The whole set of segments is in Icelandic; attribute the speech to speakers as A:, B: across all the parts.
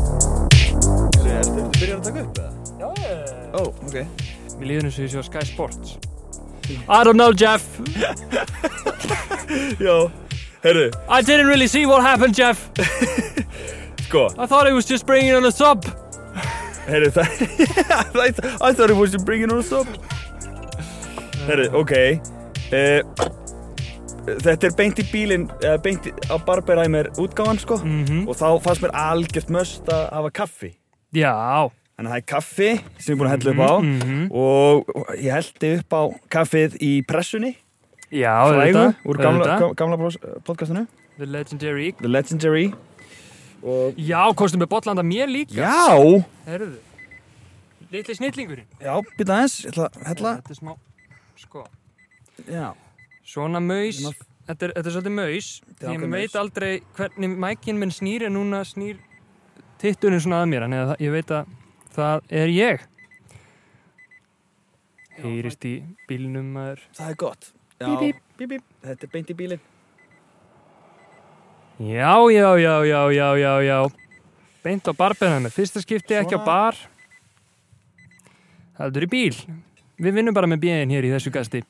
A: Ertu, ertu byrjar að taka upp eða?
B: Já, ég...
A: Ó, ok.
B: Mér líður eins og ég sé á Sky Sports. I don't know, Jeff.
A: Já, herru,
B: I didn't really see what happened, Jeff.
A: sko,
B: I thought he was just bringing on a sub.
A: herru, það... I th- I thought it was bringing on a stop. Herru, ok. Uh, þetta er beint í bílinn, uh, beint í, á Barberheimer útgáfan, sko.
B: Mhm.
A: Og þá fannst mér algjört möst að hafa kaffi.
B: Já.
A: Þannig að það er kaffi sem ég er búin að hella upp á.
B: mhm.
A: Og og ég hellti upp á kaffið í pressunni.
B: Já,
A: Flægu,
B: auðvitað.
A: úr gamla,
B: auðvitað.
A: ga- gamla pos- podcastinu.
B: The Legendary Eagle.
A: The Legendary. Og...
B: Já, kostum við botlanda mér líka.
A: Já!
B: Herðu. Litli snillingurinn.
A: Já, býta aðeins, ég ætla að hella
B: Þetta er smá, sko.
A: Já,
B: Svona maus.
A: Svona-
B: Þetta er, þetta er svolítið maus.
A: er
B: Því ég
A: ákveðin
B: veit
A: maus.
B: aldrei hvernig mækinn minn snýr en núna snýr titturinn svona að mér. Þannig að það- ég veit að það er ég. Heyrist í bílnum maður.
A: það er gott Já,
B: Bíp, bíp.
A: bíp, bíp. Þetta er beint í bílinn
B: Já, já, já, já, já, já, já. Beint á barbeina með. Fyrsta skipti ekki á
A: Svona.
B: bar. Heldur í bíl. Við vinnum bara með bíðin hér í þessu gasti.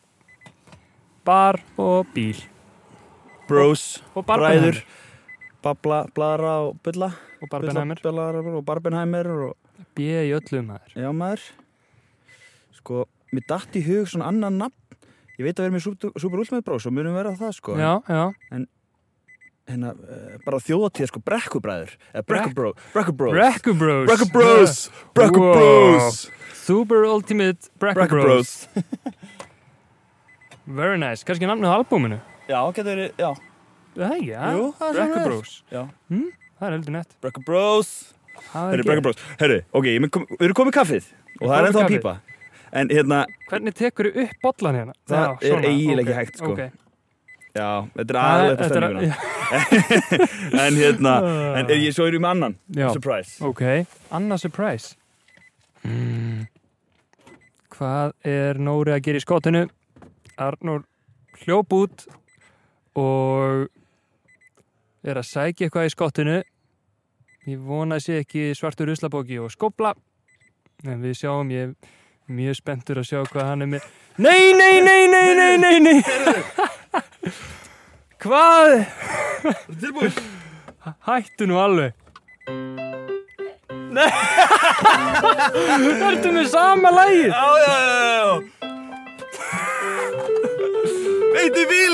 B: Bar og bíl.
A: Bros,
B: Og barbenheimer.
A: bræður Babla, blara og bulla
B: Og barbenheimer.
A: Bulla, blara og barbenheimer og
B: Bíða í öllu maður.
A: Já, maður Sko, mér datt í hug svona annan nafn Ég veit að við erum í Super- Super Ultimate Bros og munum vera það, sko
B: Já, já.
A: Hérna, eh, bara þjóðatíð, sko, brekkubræður Eða brekkubro, brekkubros
B: Brekku Bros.
A: Brekkubros, brekkubros
B: Super Ultimate Brekku
A: Brekkubros
B: Bros. Very nice. Kanski namnið á albúminu.
A: Já, getur verið, já,
B: Það er ekki, ja?
A: Jú, það er
B: Brekku
A: svona
B: Bros.
A: já
B: Það er heldur nett.
A: Brekkubros
B: Það er
A: Herri, Brekka
B: ekki.
A: Bros, herri, ok, ég mun kom, við erum komið kaffið og það er
B: komið
A: ennþá að
B: kaffið.
A: pípa En hérna,
B: Hvernig tekur þið upp bollan hérna?
A: Það er
B: svona,
A: eiginlega ekki hægt,
B: ok,
A: sko.
B: ok.
A: já, þetta er
B: Það
A: aðlega
B: þetta er- Ah.
A: stemminguna En hérna, en er ég svo erum með annan,
B: Já,
A: surprise
B: ok. Anna surprise. Mm. Hvað er Nóri að gera í skotinu? Arnór hljóp út og er að sækja eitthvað í skottinu. Ég vona að sé ekki svartur ruslabóki og skópla. En við sjáum, ég er mjög spenntur að sjá hvað hann er með. Nei, nei, nei, nei, nei, nei, nei! Hvað?
A: Tilbúin
B: Hættu nú alveg. Nei! Ertu með sama lægið?
A: Já, já, já, já Veitu bíl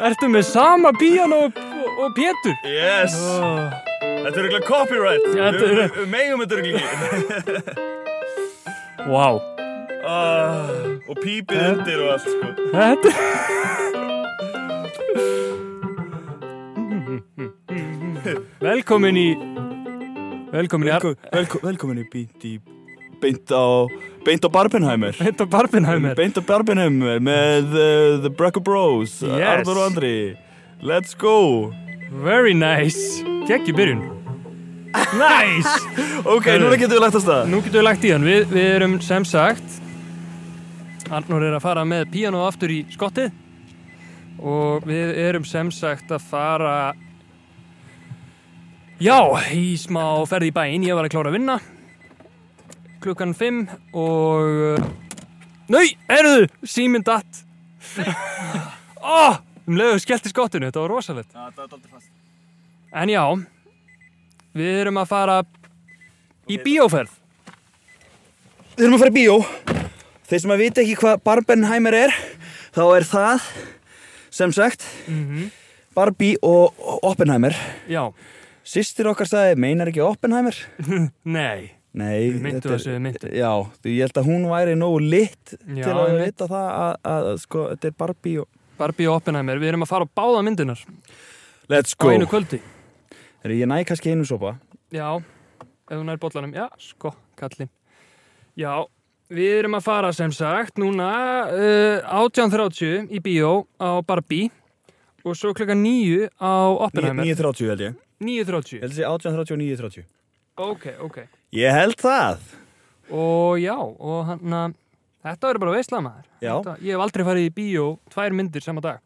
B: Ertu með sama píjan og, og Pétur?
A: Yes,
B: Oh.
A: þetta er eitthvað copyright
B: Já, þetta er-
A: Við- Við megum þetta eitthvað
B: Wow.
A: ekki Ah, Og pípið undir og allt, sko
B: Þetta... Velkomin í... Velkomin í... Ar-
A: velko, Velkomin í beint í Beint á, beint á Barbenheimer
B: Þetta er Barbenheimer.
A: Beint á barbenum með uh, The Brekka Bros
B: Yes.
A: Arður og Andri Let's go
B: Very nice. Gekk í byrjun. Nice!
A: Ok,
B: Herru.
A: núna getum við lagt að stað
B: Nú getum við lagt í hann. Við, við erum sem sagt... Arnur er að fara með píano aftur í skottið. Og við erum sem sagt að fara... Já, í smá ferð í bæinn. Ég var að klára að vinna. Klukkan fimm og... uh, Nei, erðu! Síminn datt. Ó, um leiðu skellti skottinu. Þetta var rosalegt.
A: Það er aldrei fast
B: En já, við erum að fara í bíóferð.
A: Við erum að fara í bíó Þeir sem að vita ekki hvað Barbenheimer er Þá er það Sem sagt Barbie og og Oppenheimer
B: Já,
A: Systir okkar sagði, meinar ekki Oppenheimer?
B: nei,
A: Nei
B: myndu
A: þetta er-
B: þessu, myndu.
A: Já, því ég held að hún væri nógu lit
B: Já,
A: Til að
B: einmitt.
A: vita það að, að, að sko, þetta er Barbie og
B: Barbie og Oppenheimer, við erum að fara á báða myndunar
A: Let's
B: á einu kvöldi.
A: Herru, Ég næ kannski einu sopa
B: Já, ef hún er bollanum, já, sko, kallinn já, við erum að fara sem sagt, núna uh, 18.30 í bíó á Barbie og svo klukka 9 á Oppenheimer
A: 9.30 held ég.
B: 9.30,
A: Held þessi 18.30 og 9.30.
B: ok, ok
A: Ég held það.
B: og já, og hann að þetta verður bara veistlað maður
A: Já.
B: þetta, ég hef aldrei farið í bíó tvær myndir sama dag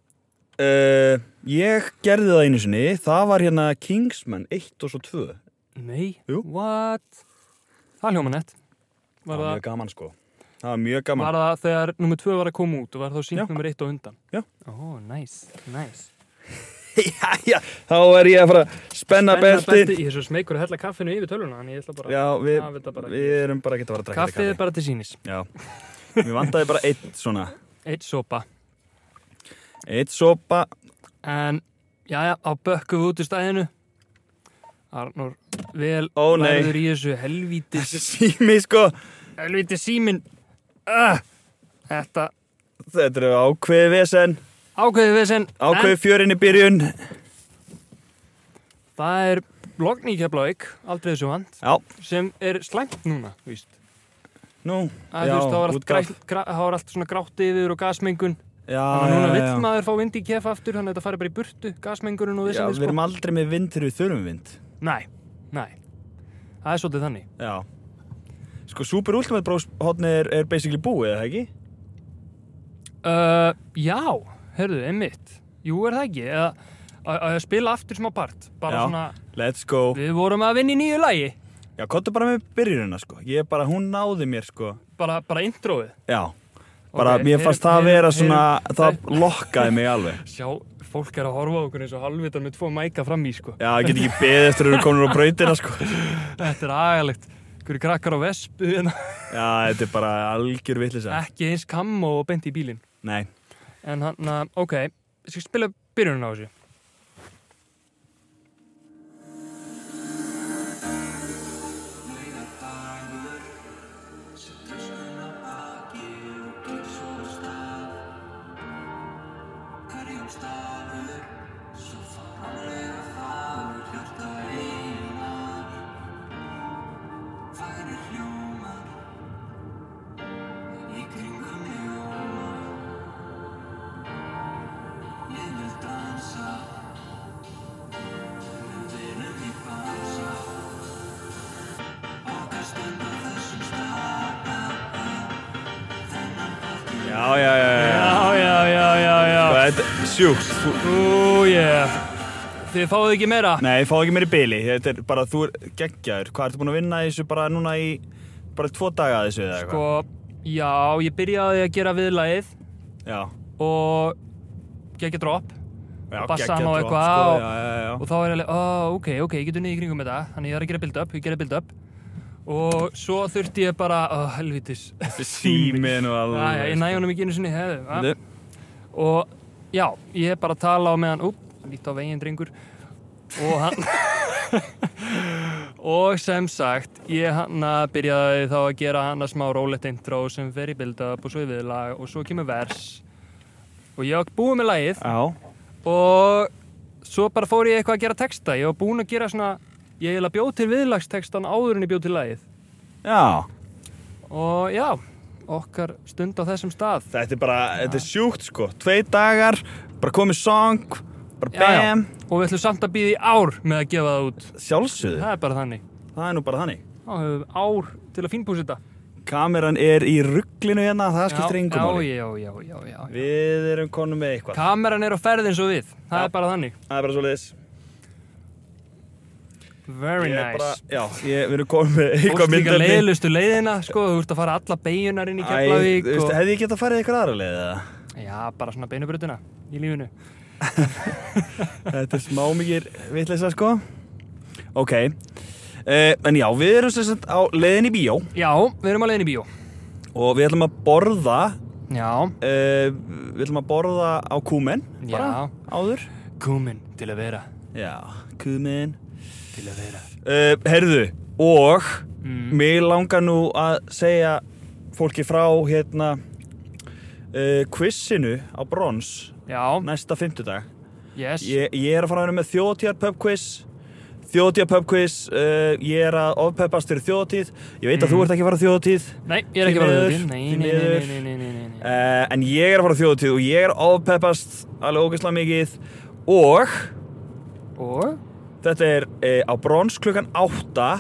A: Uh, ég gerði það einu sinni. Það var hérna Kingsman 1 og svo 2.
B: nei,
A: Jú.
B: what það hljóma nett
A: Það
B: var
A: var
B: það,
A: mjög gaman sko. Það var mjög gaman.
B: var það þegar nummer 2 var að koma út og var þá
A: Já.
B: sínt nummer 1 á undan
A: Já.
B: ó, nice, nice
A: já, já, þá er ég að fara að spenna beltin.
B: ég er svo smeykur að hella kaffinu yfir töluna en ég ætla bara
A: Já, við,
B: Hafa þetta bara
A: við erum bara að geta að fara að drekka
B: kaffið er bara til sínis,
A: Já, við vantaði bara eitt svona.
B: eitt sopa
A: Eitt sopa.
B: en, já, já, á bökkum við út í stæðinu Arnur, vel
A: Ó, nei.
B: lærður í þessu helvítis
A: Þessi sími sko.
B: Helviti síminn uh, Þetta
A: Þetta eru ákveðið vesen.
B: ákveðið við sinn
A: Ákveðið fjörinn í byrjun.
B: Það er blogn í Keflavík Aldrei þessu vant
A: Já,
B: Sem er slæmt núna víst.
A: nú.
B: Að,
A: já,
B: þú veist, Það var allt,
A: útgáf.
B: græ, gra, það var allt svona grátt yfir og gasmengun
A: Já,
B: Þannig að núna
A: já, já.
B: vill maður fá vind í kef aftur Þannig að þetta fari bara í burtu Gasmengurinn og sko.
A: Já,
B: þessi
A: við erum aldrei með vind þegar við þurfum vind.
B: Næ, næ Það er svolítið þannig
A: Já. Sko, Super Ultimate Bros hotni er, er basically búið, eða ekki?
B: uh, Já, hörðu, einmitt Jú, er það ekki Eða að- að spila aftur smá part Bara
A: Já.
B: svona,
A: Let's go.
B: við vorum að vinna í nýju lagi
A: Já, kottu bara með byrjunina, sko. Ég bara, hún náði mér, sko.
B: Bara, bara introið
A: Já. Bara,
B: Ok,
A: mér fannst það að
B: heyrum-
A: vera
B: heyrum-
A: svona,
B: heyrum-
A: það lokkaði mig alveg.
B: Sjá, fólk er að horfa á okkur eins og halvvita með tvo mæka fram í, sko.
A: Já, ég get ekki beðið eftir að við komum á brautina, sko.
B: Þetta er agalegt. Hverju krakkar á vespu, en
A: Já, þetta er bara algjör vittlisa.
B: ekki eins kam og beint í bílinn.
A: Nei.
B: En hann, að, ok, ég skal spila byrjunum á þessu.
A: Já, já, já, já.
B: Já, já, já, já, já.
A: Þetta er sjúkt. Þú-
B: Ú, yeah. Þið fáið ekki meira.
A: Nei, ég fá ekki meiri bili. Þetta er bara, þú er geggjaður. Hvað ertu búin að vinna í þessu bara núna í, bara tvo daga að þessu eða
B: Sko,
A: eitthvað?
B: já, ég byrjaði að gera viðlagið
A: Já.
B: og gekk ég drop.
A: Já,
B: Og bassan
A: geggjaður
B: og
A: drop,
B: eitthvað
A: sko.
B: og-
A: Já, já, já.
B: og þá er ég alveg, oh, ok, ok, ég getur niður í kringum þetta þannig ég er að gera build-up, ég gera build-up og svo þurfti ég bara, oh, helvitis
A: Þessi símin og alveg.
B: Æja, ég næ honum ekki einu sinni hefðu að-
A: Þetta-
B: og já, ég er bara að tala á meðan úp, lítið á veginn drengur og hann og sem sagt ég hann að byrjaði þá að gera hann að smá rólegt intro sem fer í build-up og svo í viðlag og svo kemur vers og ég var búið með lagið
A: Já.
B: og svo bara fór ég eitthvað að gera texta ég var búinn að gera svona ég eiginlega bjóð til viðlagstextan áður en ég bjóð til lagið
A: Já.
B: og já, okkar stund á þessum stað
A: Þetta er bara, þetta er sjúkt sko. Tvei dagar, bara komið song, bara
B: Já, já.
A: bam.
B: og við ætlum samt að býða í ár með að gefa það út
A: Sjálfsögðu.
B: það er bara þannig
A: Það er nú bara þannig.
B: þá höfum við ár til að fínbúsa þetta
A: Kameran er í rugglinu hérna, það skiptir
B: já,
A: engum áli.
B: já, já, já, já, já, já.
A: Við erum konum með eitthvað.
B: kameran er á ferð eins og við það
A: Já.
B: er bara þannig
A: Það er bara svo leiðis.
B: very nice bara...
A: já, ég, við erum konum með
B: Fórst
A: eitthvað
B: líka
A: myndefni.
B: leiðlustu leiðina, sko, þú ert að fara alla beigunar inn í
A: Æ,
B: Keflavík
A: þú veist,
B: og...
A: hefði ég getað farið eitthvað aðra leið eða?
B: Já, bara svona beinubrutina í lífinu.
A: Þetta er smá mikið vitleisa sko. Ok, uh, en já, við erum sem sagt á leiðin í bíó
B: Já, við erum á leiðin í bíó.
A: og við ætlum að borða,
B: Já,
A: uh, við ætlum að borða á kúmen, bara
B: Já.
A: áður.
B: Komin til að vera
A: Já, kúmen.
B: Til að vera
A: Uh, herðu, og
B: mm.
A: mig langar nú að segja fólki frá hérna uh, quizinu á brons
B: Já,
A: næsta fymtudag.
B: yes
A: Ég, ég er að fara að vera með þjóðtíðar pub quiz Þjóðtíða pub quiz uh, Ég er að ofpeppast fyrir þjóðtíð Ég veit að
B: Mhm.
A: þú ert ekki að fara á þjóðtíð
B: Nei, ég er ekki
A: Því
B: bara
A: miður,
B: þjóðtíð. Nei,
A: því
B: nei, nei,
A: miður.
B: nei, nei, nei, nei, nei.
A: uh, En ég er að fara á þjóðtíð Og ég er að ofpeppast alveg ógeðslega mikið Og
B: Og?
A: Þetta er uh, á brons klukkan 8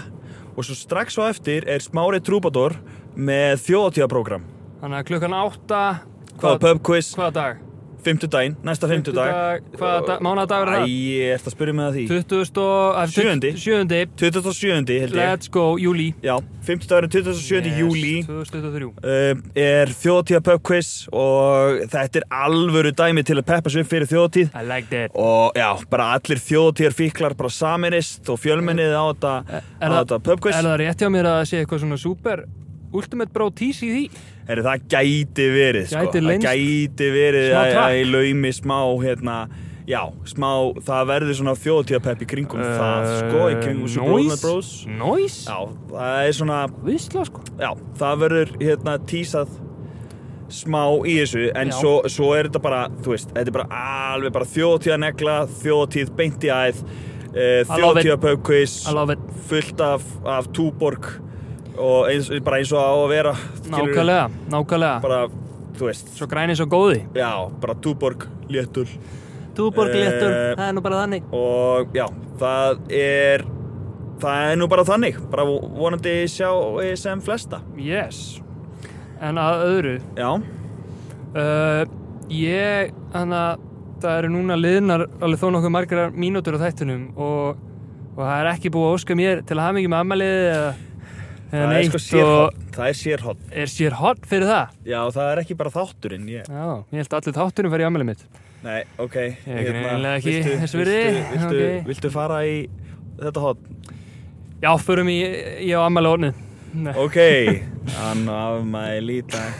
A: Og svo strax á eftir er Smári Trúbador Með þjóðtíðaprogram
B: Þannig að klukkan átta
A: Hvaða pub quiz,
B: Hvaða dag?
A: fimmtudaginn, næsta fimmtudag
B: Fimmtudag, Hvaða dag? Mánadag er
A: Æ,
B: það?
A: ég ert að spyrja mig að því
B: 20. og- að,
A: Sjöundi.
B: 7.
A: 27. held ég
B: Let's go, júli.
A: Já, 50 dagurinn 27.
B: Yes,
A: júli
B: 2023.
A: uh, er þjóðtíða pub quiz og þetta er alvöru dæmi til að peppa sig upp fyrir þjóðtíð
B: I like that.
A: og já, bara allir þjóðtíðar fíklar bara saminist og fjölmennið á þetta, á
B: Er það-
A: þetta pub quiz
B: Er það rétt hjá mér að sé eitthvað svona super ultimate bro tease í því?
A: er það gæti verið sko.
B: Gæti
A: það
B: leynst-
A: gæti verið
B: Smá
A: að
B: trapp.
A: að ég laumi smá hérna já, smá, það verður svona þjóðtíðapepp í kringum
B: Eh,
A: það sko, í kringum Super Ultimate Bros
B: Uh, Noise?
A: já, það er svona
B: Vissla sko.
A: já, það verður hérna tísað smá í þessu en
B: Já.
A: svo, svo er þetta bara, þú veist, þetta er bara alveg bara þjóðtíða negla, þjóðtíð beint í æð, uh,
B: I love it.
A: þjóðtíða pubquiz,
B: I love it.
A: fullt af, af túborg og eins, bara eins og á að vera skilurðu,
B: Nákvæmlega, nákvæmlega.
A: bara, þú veist,
B: Svo græni svo góði.
A: já, bara túborg léttul
B: Túborg
A: Eh,
B: léttur, það er nú bara þannig.
A: og já, það er það er nú bara þannig bara vonandi sjá sem flesta
B: Yes. En að öðru.
A: já,
B: Uh, ég, þannig að það eru núna liðnar alveg þó nokkuð margar mínútur á þættunum og, og það er ekki búið að óska mér til að hafa mikið með ammaliðið eða eða
A: það er
B: neitt
A: sko sérhótt
B: og
A: það er sérhótt
B: er sér hot fyrir það.
A: Já, það er ekki bara þátturinn, ég...
B: Já, ég held að allir þáttunum fari í ammalið mitt.
A: Nei, ok. Ég
B: er greinilega ekki þess virði,
A: Viltu, viltu,
B: ok.
A: viltu fara í þetta hot?
B: Já, förum í, ég á ammalið ornið. Nei.
A: Ok. Hann á afmæli í dag.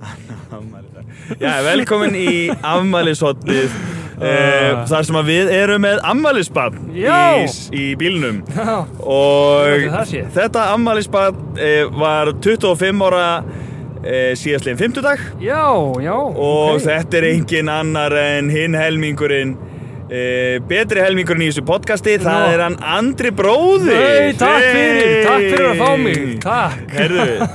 A: Hann á afmæli í dag. Já, velkomin í afmælishotnið. Uh,
B: Ah.
A: þar sem að við erum með afmælisbann í,
B: Já.
A: í bílnum.
B: Já,
A: og
B: Hvernig það sé?
A: þetta afmælisbann uh, var 25 ára uh, síðastlegin 50 dag.
B: já, já.
A: og
B: ok.
A: þetta er engin annar en hinn helmingurinn e, betri helmingurinn í þessu podcasti það
B: Nú.
A: er hann Andri bróðir
B: Nei, takk fyrir, takk fyrir að fá mig, takk.
A: Herðu,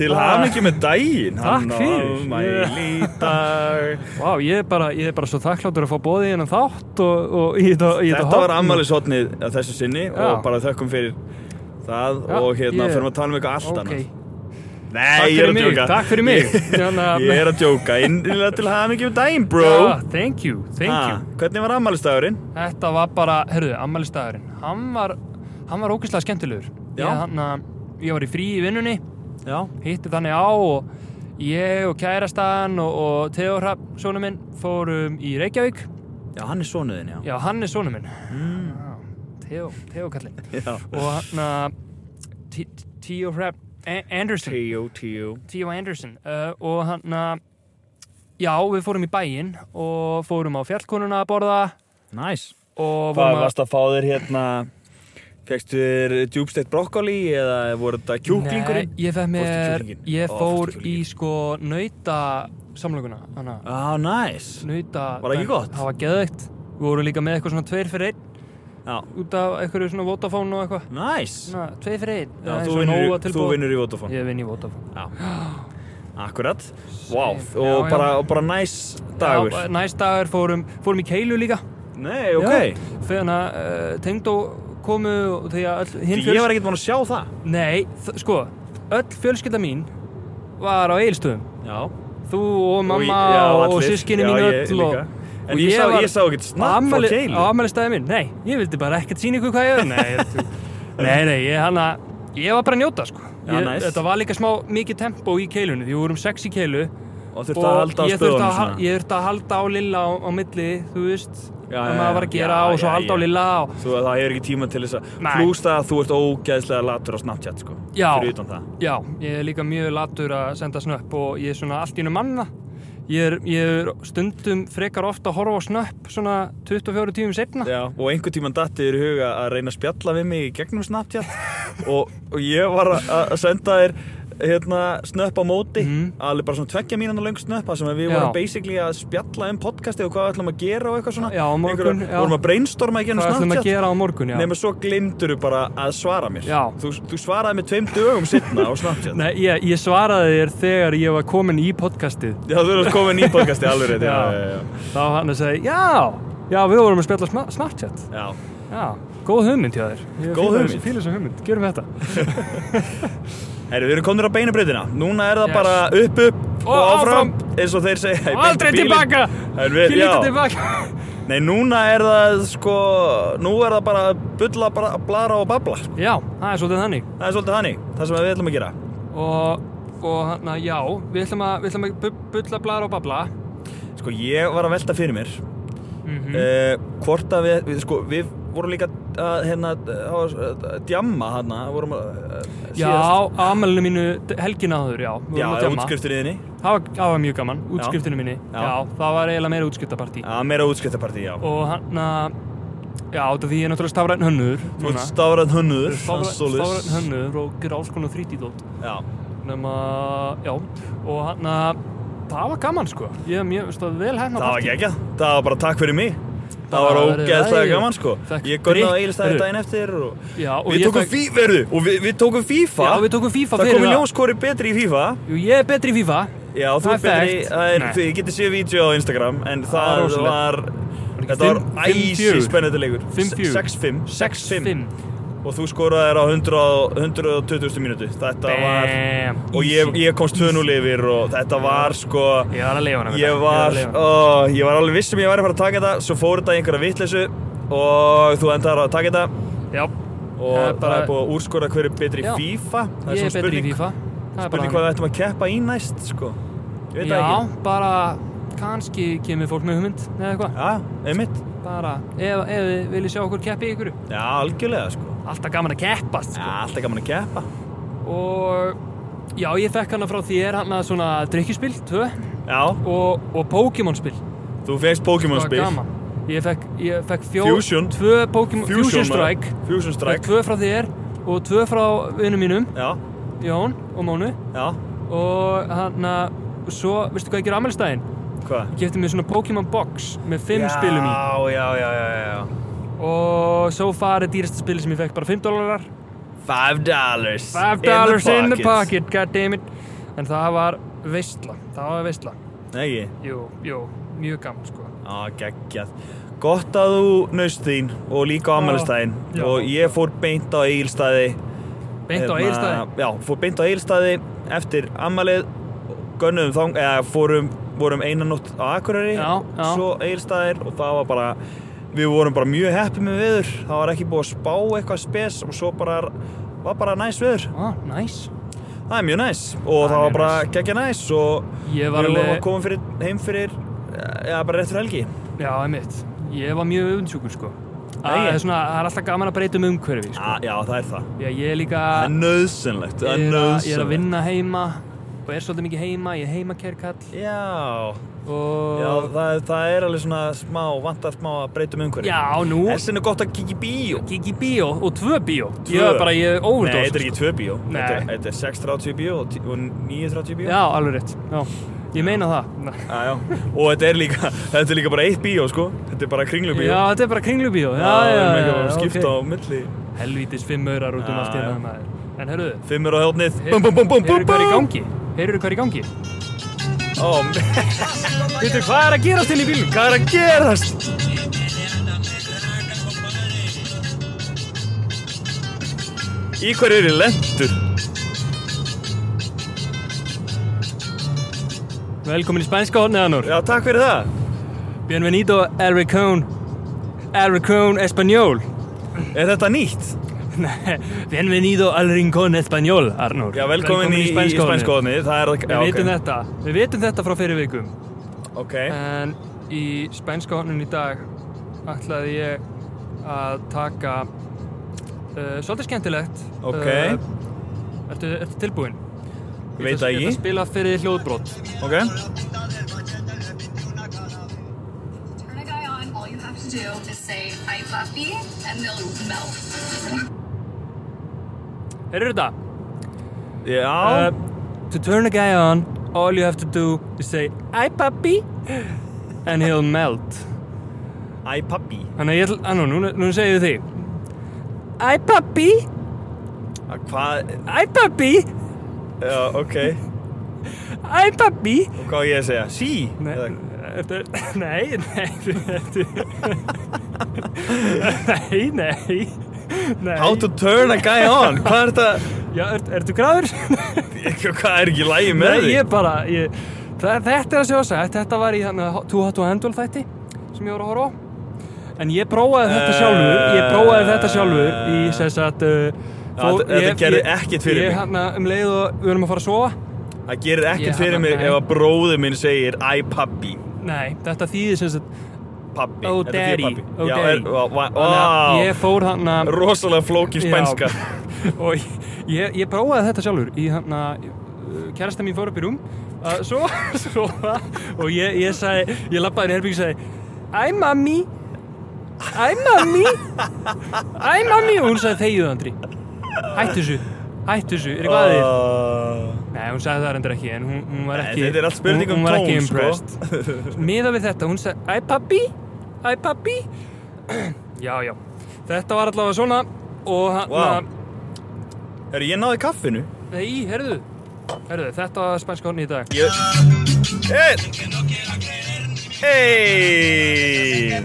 A: til hafingi með daginn
B: Takk fyrir.
A: Hann á afmæli í dag
B: Vá, ég er bara, ég er bara svo þakkláttur að fá bóðið hennan þátt og, og í þetta í
A: Þetta
B: horn.
A: var afmælishotnið að þessu sinni
B: Já.
A: og bara þökkum fyrir það
B: Já,
A: og hérna
B: ég-
A: fyrir að tala um eitthvað allt
B: Ok,
A: annað
B: Takk
A: Nei, ég
B: fyrir
A: er að
B: mig,
A: djóka
B: takk fyrir mig. Hérna-
A: Ég er að djóka, innlega til hafingi með daginn, bro
B: Já, thank you, thank
A: Ha,
B: you.
A: Hvernig var afmælistagurinn?
B: Þetta var bara, herruðu, ammælistagurinn Hann var, hann var ógeðslega skemmtilegur
A: Já.
B: Ég, hann, ég var í frí í vinnunni
A: Já
B: Hitti þannig á og ég og kærastan og, og Theó Hrapp, sonu minn Fórum í Reykjavík
A: Já, hann er sonuðin, já.
B: Já, hann er sonu minn
A: Mm.
B: Theó, Theó kallinn
A: já.
B: Og hérna, hann, Theó Hrapp A- Anderson
A: Tíu, tíu.
B: Tíu Anderson uh, og hann að já, við fórum í bæinn og fórum á fjallkonuna að borða
A: Næs.
B: og
A: Hvað
B: vorum að-
A: varst að fá þér hérna, fegstu þér djúbsteitt brokkoli eða voru þetta kjúklingurinn?
B: Nei, ég fekk
A: Fórstu
B: mér,
A: kjúklinginn?
B: ég
A: Ó,
B: fór
A: fórstu
B: í
A: kjúklinginn.
B: sko nauta samlökuna, hana,
A: Á, næs.
B: nauta.
A: Var það ekki gott?
B: Það var geðveikt. Við vorum líka með eitthvað svona tveir fyrir einn
A: Já,
B: út af einhverju svona Vodafone og eitthvað.
A: næs.
B: Svona tveir fyrir einn.
A: Já,
B: það er
A: þú
B: svo
A: vinnur, í-
B: Nóa
A: þú
B: tilboð.
A: vinnur í Vodafone.
B: Ég vinn í Vodafone.
A: Já. Akkurat. Vá,
B: Same.
A: og
B: Já, já.
A: bara, og bara næs dagur.
B: Já, næst dagur fórum, fórum í Keilu líka.
A: Nei, ok.
B: Já, Fyrir hana uh, tengdó komu og því að öll hinn
A: Því ég var ekkert búin að sjá það.
B: Nei, þ- sko, öll fjölskylda mín var á Egilstöðum.
A: Já.
B: Þú og mamma
A: ég- já,
B: og, og
A: allir.
B: sískinni
A: Já,
B: mín
A: ég
B: öll og,
A: líka. En ég, sá, ég sá ekkert snapp frá
B: afmæli-
A: keilu.
B: á afmælistæði minn, nei, ég vildi bara ekkert sína ykkur hvað ég er nei, ég- nei, nei, ég hann að ég var bara að njóta sko
A: Já,
B: ég,
A: næs.
B: þetta var líka smá mikið tempo í keilunni því við vorum sex í keilu
A: Og þurfti að halda á
B: ég þurfti
A: stöðunum
B: að,
A: svona.
B: ég þurfti að halda á Lilla á, á milli þú veist, um
A: Já,
B: að
A: já,
B: maður var að
A: já,
B: gera
A: já,
B: og svo
A: já,
B: halda
A: já.
B: á Lilla og,
A: Þú, það hefur ekki tíma til þess að
B: Nei.
A: Plus það að þú ert ógæðslega latur á Snapchat sko
B: Já.
A: Fyrir utan það
B: já, ég er líka mjög latur að senda snöpp og ég er svona allt í einu manna ég er, ég er stundum frekar ofta að horfa á snöpp svona 24 tímum setna
A: Já, og einhvern tíman datti þér í huga að reyna að spjalla við mig í gegnum Snapchat og, og ég var að- að senda þér hérna, snöpp á móti
B: Mhm.
A: alveg bara svona tveggja mínúna löng snöpp þar sem að við
B: Já.
A: vorum basically að spjalla um podcasti og hvað við ætlum að gera og eitthvað svona
B: Já, á morgun,
A: Einhverju-
B: já.
A: vorum að brainstorma í
B: Hvað
A: gennum
B: ætlum að
A: Snapchat
B: gera á morgun, já?
A: nema svo glimturu bara að svara mér
B: Já.
A: þú, þú svaraði mér tveim dögum sitna á Snapchat
B: Nei, ég, ég svaraði þér þegar ég var komin í podcastið.
A: Já, þú erum komin í podcasti alveg rétt, já,
B: Já.
A: já, já,
B: Þá var hann að segja, já, já, við vorum að spjalla sma- Snapchat.
A: já.
B: Já, góð hugmynd hjá þér.
A: Góð
B: Ég fíla-
A: hugmynd.
B: Fíla þessa hugmynd, gerum þetta.
A: Herru, við erum komin á beina breytina Núna er það
B: Yes.
A: bara upp, upp og,
B: Og
A: áfram,
B: áfram.
A: eins og þeir segja í
B: Og
A: beint í
B: aldrei
A: bílinn.
B: tilbaka!
A: En við- já.
B: Lítið tilbaka!
A: Nei, núna er það sko Nú er það bara að bulla, bara blara og babla sko.
B: Já, það er svolítið þannig.
A: Það er svolítið hannig, það sem við ætlum að gera
B: Og, og hann að, já, við ætlum að, við ætlum að bu- bulla, blara og babla.
A: Sko, ég var að velta fyrir mér
B: Mm
A: mm. Hvort að við, við, sko, við vorum líka að, hérna, að, að, að djamma hana vorum að, að,
B: Já,
A: síðast.
B: á ammælinu mínu d- helgina áður, já. við vorum
A: Já,
B: að
A: já
B: djamma.
A: útskriftur í þinni
B: Það var, það var mjög gaman, útskriftinu minni.
A: Já.
B: Já. það var eiginlega meira útskriftapartí.
A: Já, meira útskriftapartí, já
B: Og hann að, já, þetta því ég er náttúrulega stafræn hönnur.
A: Þú ert stafræn hönnuður það er svoleiðis.
B: stafræn hönnur og gera alls konar þrítíðótt.
A: Já,
B: Nefna, já, og hann að, það var gaman sko. Ég er mjög, veist það, vel hefna
A: það var gekkja Það var bara takk fyrir mig Það
B: Bara
A: var
B: verið
A: ógeðslega
B: lagið.
A: gaman sko
B: Fékk
A: Ég gunnaði
B: drykk,
A: á Egilstaði
B: heyrðu.
A: daginn eftir og...
B: Já, og
A: Við
B: ég
A: tókum,
B: fekk-
A: fí... verðu, og við, við tókum FIFA
B: Já, við tókum FIFA
A: Það
B: fyrir
A: komi
B: það.
A: ljós hvori betri í FIFA
B: Jú, ég er betri í FIFA.
A: Já, þú
B: Það
A: ert
B: er
A: betri uh,
B: þekkt.
A: Það er,
B: Nei.
A: þið getið séð vídeo á Instagram En
B: Það
A: það
B: var rosalegt.
A: var
B: ekki
A: Þetta var
B: fimm- fimm,
A: æsi
B: fjögur?
A: spennandi leikur
B: Fimm,
A: Se-
B: fjögur?
A: 6-5
B: 6-5.
A: Og þú skoraði þér á 100 120. mínútu Þetta var
B: Bam.
A: Og ég,
B: Easy.
A: ég komst 2-0 yfir og þetta var sko
B: Ég var að leifa hana.
A: Ég var, ó, ég var alveg viss um ég væri að fara að taka þetta Svo fór þetta í einhverja vitleysu Og þú endar að taka þetta
B: Já,
A: Og
B: Það er
A: það
B: bara-
A: er búið að úrskora hverju betri í
B: Já.
A: FIFA Það
B: ég
A: svona
B: er betri í
A: spurning,
B: FIFA. Það er bara
A: Spurning
B: þannig.
A: hvað við ættum að keppa í næst sko Ég veit það
B: Já,
A: ekki
B: bara kannski kemur fólk með hugmynd eða eitthvað.
A: Já, einmitt
B: Bara ef, ef þið viljið sjá okkur keppi í ykkur.
A: Já, algjörlega sko
B: Alltaf gaman að keppast.
A: Já,
B: Sko.
A: alltaf gaman að keppa
B: Og já, ég fekk hana frá þér hann að svona drikkjuspil, tvö,
A: Já,
B: og, og Pokémon-spil.
A: þú fegst Pokémon
B: Það var
A: spil
B: gaman. Ég fekk, ég fekk fjó,
A: Fusion.
B: tvö Pokémon, Fusion,
A: maður.
B: Strike.
A: Fusion
B: Fekk
A: Strike
B: tvö frá þér og tvö frá vinnum mínum,
A: Já,
B: Jón og Mónu.
A: já,
B: Og hann að, svo, veistu hvað ég ger ammælstæðin?
A: hvað?
B: Ég kefti mér svona Pokémon box með fimm spilum í.
A: Já, já, já, já, já
B: Og so far er dýrasta spili sem ég fekk bara 5 dólarar
A: Five dollars
B: 5 dollars in the pocket, goddammit En það var veistla, það var veistla
A: Nei, ekki
B: Jú, jú, mjög gaman sko
A: Já, geggjað. Gott að þú naust þín og líka á ammælistæðin
B: Já.
A: og ég fór beint á Egilstaði.
B: Beint á
A: Hérna,
B: eilstæði
A: Já, fór beint á Egilstaði eftir ammælið, gönnuðum þang, eða fórum, vorum einanótt á Akureyri,
B: Já, já.
A: svo Egilstaðir og það var bara, við vorum bara mjög heppið með viður, það var ekki búið að spá eitthvað spes og svo bara, var bara næs viður.
B: Á, næs
A: Það er mjög næs og
B: Það er
A: það var
B: mjög
A: bara
B: næs.
A: geggja næs og
B: Ég
A: við
B: var
A: vorum að
B: alveg, Sko.
A: koma fyrir, heim fyrir, já, bara rétt fyrir helgi.
B: já, einmitt Ég var mjög undsjúkur sko Það
A: Nei.
B: er svona, það er alltaf gaman að breyta um umhverfi sko.
A: Já, Ah, já, það er það.
B: Já, ég er líka
A: Það er nöðsynlegt, það
B: ég
A: er
B: er, að, ég er að
A: nöðsynlegt.
B: vinna heima Og er svolítið mikið heima, ég er heimakerkall
A: Já,
B: Og
A: já það, það er alveg svona smá, vantar smá að breyta um umhverju.
B: já nú
A: Þessin er gott að kíkja í bíó.
B: Gigi bíó og tvö bíó
A: Tvö.
B: Ég var bara, ég er
A: Nei,
B: óverdóð
A: þetta er ekki tvö bíó.
B: Nei.
A: Þetta er- Þetta er 6.30 bíó og tí- og 9.30 bíó.
B: Já, alveg rétt. Já. Ég meina það.
A: Já, já. Og þetta er líka, þetta er líka bara eitt bíó, sko. Þetta er bara kringlubíó.
B: Já, þetta er bara kringlubíó. Já, já,
A: Það er
B: já,
A: ekki að
B: já,
A: skipta á
B: ok.
A: milli.
B: Helvítis fimm aurar út um
A: Já,
B: allt
A: já.
B: hérna maður. En heyrðu,
A: Fimmur á hjálpnið.
B: hey-
A: Bum, bum, bum, bum, bum,
B: heyrðu hvað er í gangi? Heyrðu hvað er í gangi?
A: Ó, me-
B: Veitu, hvað er að gerast inn í bílum?
A: hvað er að gerast? Í hverju eru lendur?
B: Velkomin í spænska hodnið, Anur.
A: Já, takk fyrir það.
B: Bienvenido El Recón. El Recón Español.
A: Er þetta nýtt?
B: Nei, Bienvenido al Rincón Español, Arnur.
A: Já, velkomin, í, í
B: Spænska hornið.
A: spænskóðni. Það er, já,
B: Við vitum þetta. Eh, Við vitum þetta frá fyrir vikum.
A: Ok,
B: En í spænska honum í dag ætlaði ég að taka uh, svolítið skemmtilegt.
A: Ok.
B: Uh, ertu, ertu tilbúin? Ég
A: Veit
B: ætla-
A: það
B: Ég ætla
A: ekki.
B: að spila fyrir þig hljóðbrot.
A: ok.
C: Turn a guy on, all you have to do is say, I puppy, and they'll melt.
B: Heyrðu þetta?
A: Já,
B: Eh, To turn a guy on, all you have to do is say Æ pappi and he'll melt.
A: Æ pappi
B: Þannig að ég ætla, að nú, nú, nú segjum við því Æ pappi,
A: Að Hvað,
B: æ pappi,
A: já, ok
B: æ pappi
A: Og hvað á ég að segja? Sí
B: Nei,
A: Eða-
B: eftir, nei, nei, eftir, nei, nei, nei.
A: How to turn a guy on Hvað er þetta?
B: Já, er, ertu gráður?
A: Hvað er ekki lægi með
B: Nei,
A: því?
B: ég bara, ég, það, þetta er að sjósa, þetta var í þannig að Too Hot to Handle þætti sem ég voru að horfa á. En ég prófaði þetta sjálfur, ég prófaði þetta sjálfur í sess að... Uh, fór-
A: þetta
B: ég-
A: gerði
B: ég-
A: ekkert fyrir mig.
B: Ég hann um leið og við erum að fara að sofa.
A: Það gerir ekkert
B: Ég-
A: fyrir mig
B: nei.
A: ef að bróður minn segir Æ pappi
B: Nei, þetta þýðir sess að...
A: Pappi
B: Oh,
A: Þetta þýðir
B: daddy,
A: pabbi.
B: oh,
A: Já,
B: daddy.
A: er- vá, vá,
B: Þannig að
A: vá.
B: Ég fór hann að...
A: Rosalega flókin spænska
B: Já. og ég, ég, ég prófaði þetta sjálfur í hann að kærasta mín fór upp í rúm að svo, svo og ég, ég sagði, ég lappaði inn í herbyggju og sagði Æ mammi Æ mammi Æ mammi og hún sagði þegið Andri Hættu þessu, hættu þessu, er eitthvað að þér?
A: Ah.
B: Nei, hún sagði það reyndar ekki, en hún, hún var
A: Nei,
B: ekki
A: þetta er allt spurning
B: hún-
A: um
B: hún var ekki
A: tón, sko.
B: impressed. Miða við þetta, hún sagði Æ pappi, æ pappi Já, já, þetta var allavega svona og hann
A: Vá. Herru, ég náði kaffinu
B: Nei, herðu, herðu, þetta var spænska honni í dag
A: Ég... Hey! Hey!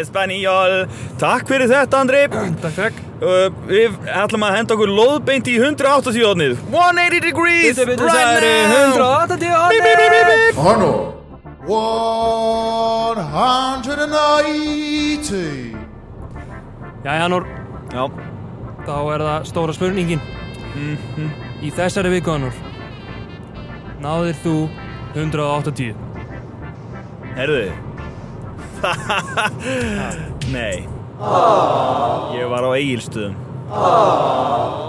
A: Espanjol Takk fyrir þetta, Andri
B: Takk, takk
A: uh, Við ætlum að henda okkur loðbeint í 180 hodnið 180 degrees right now
B: 180 honni
A: Bíp, bíp, bíp, bíp.
D: Honor 180.
B: Jæja, Nór,
A: Já,
B: þá er það stóra spurningin
A: Mhm.
B: Í þessari viku, Nór Náðir þú 180
A: herðu Nei Ég var á eigilstöðum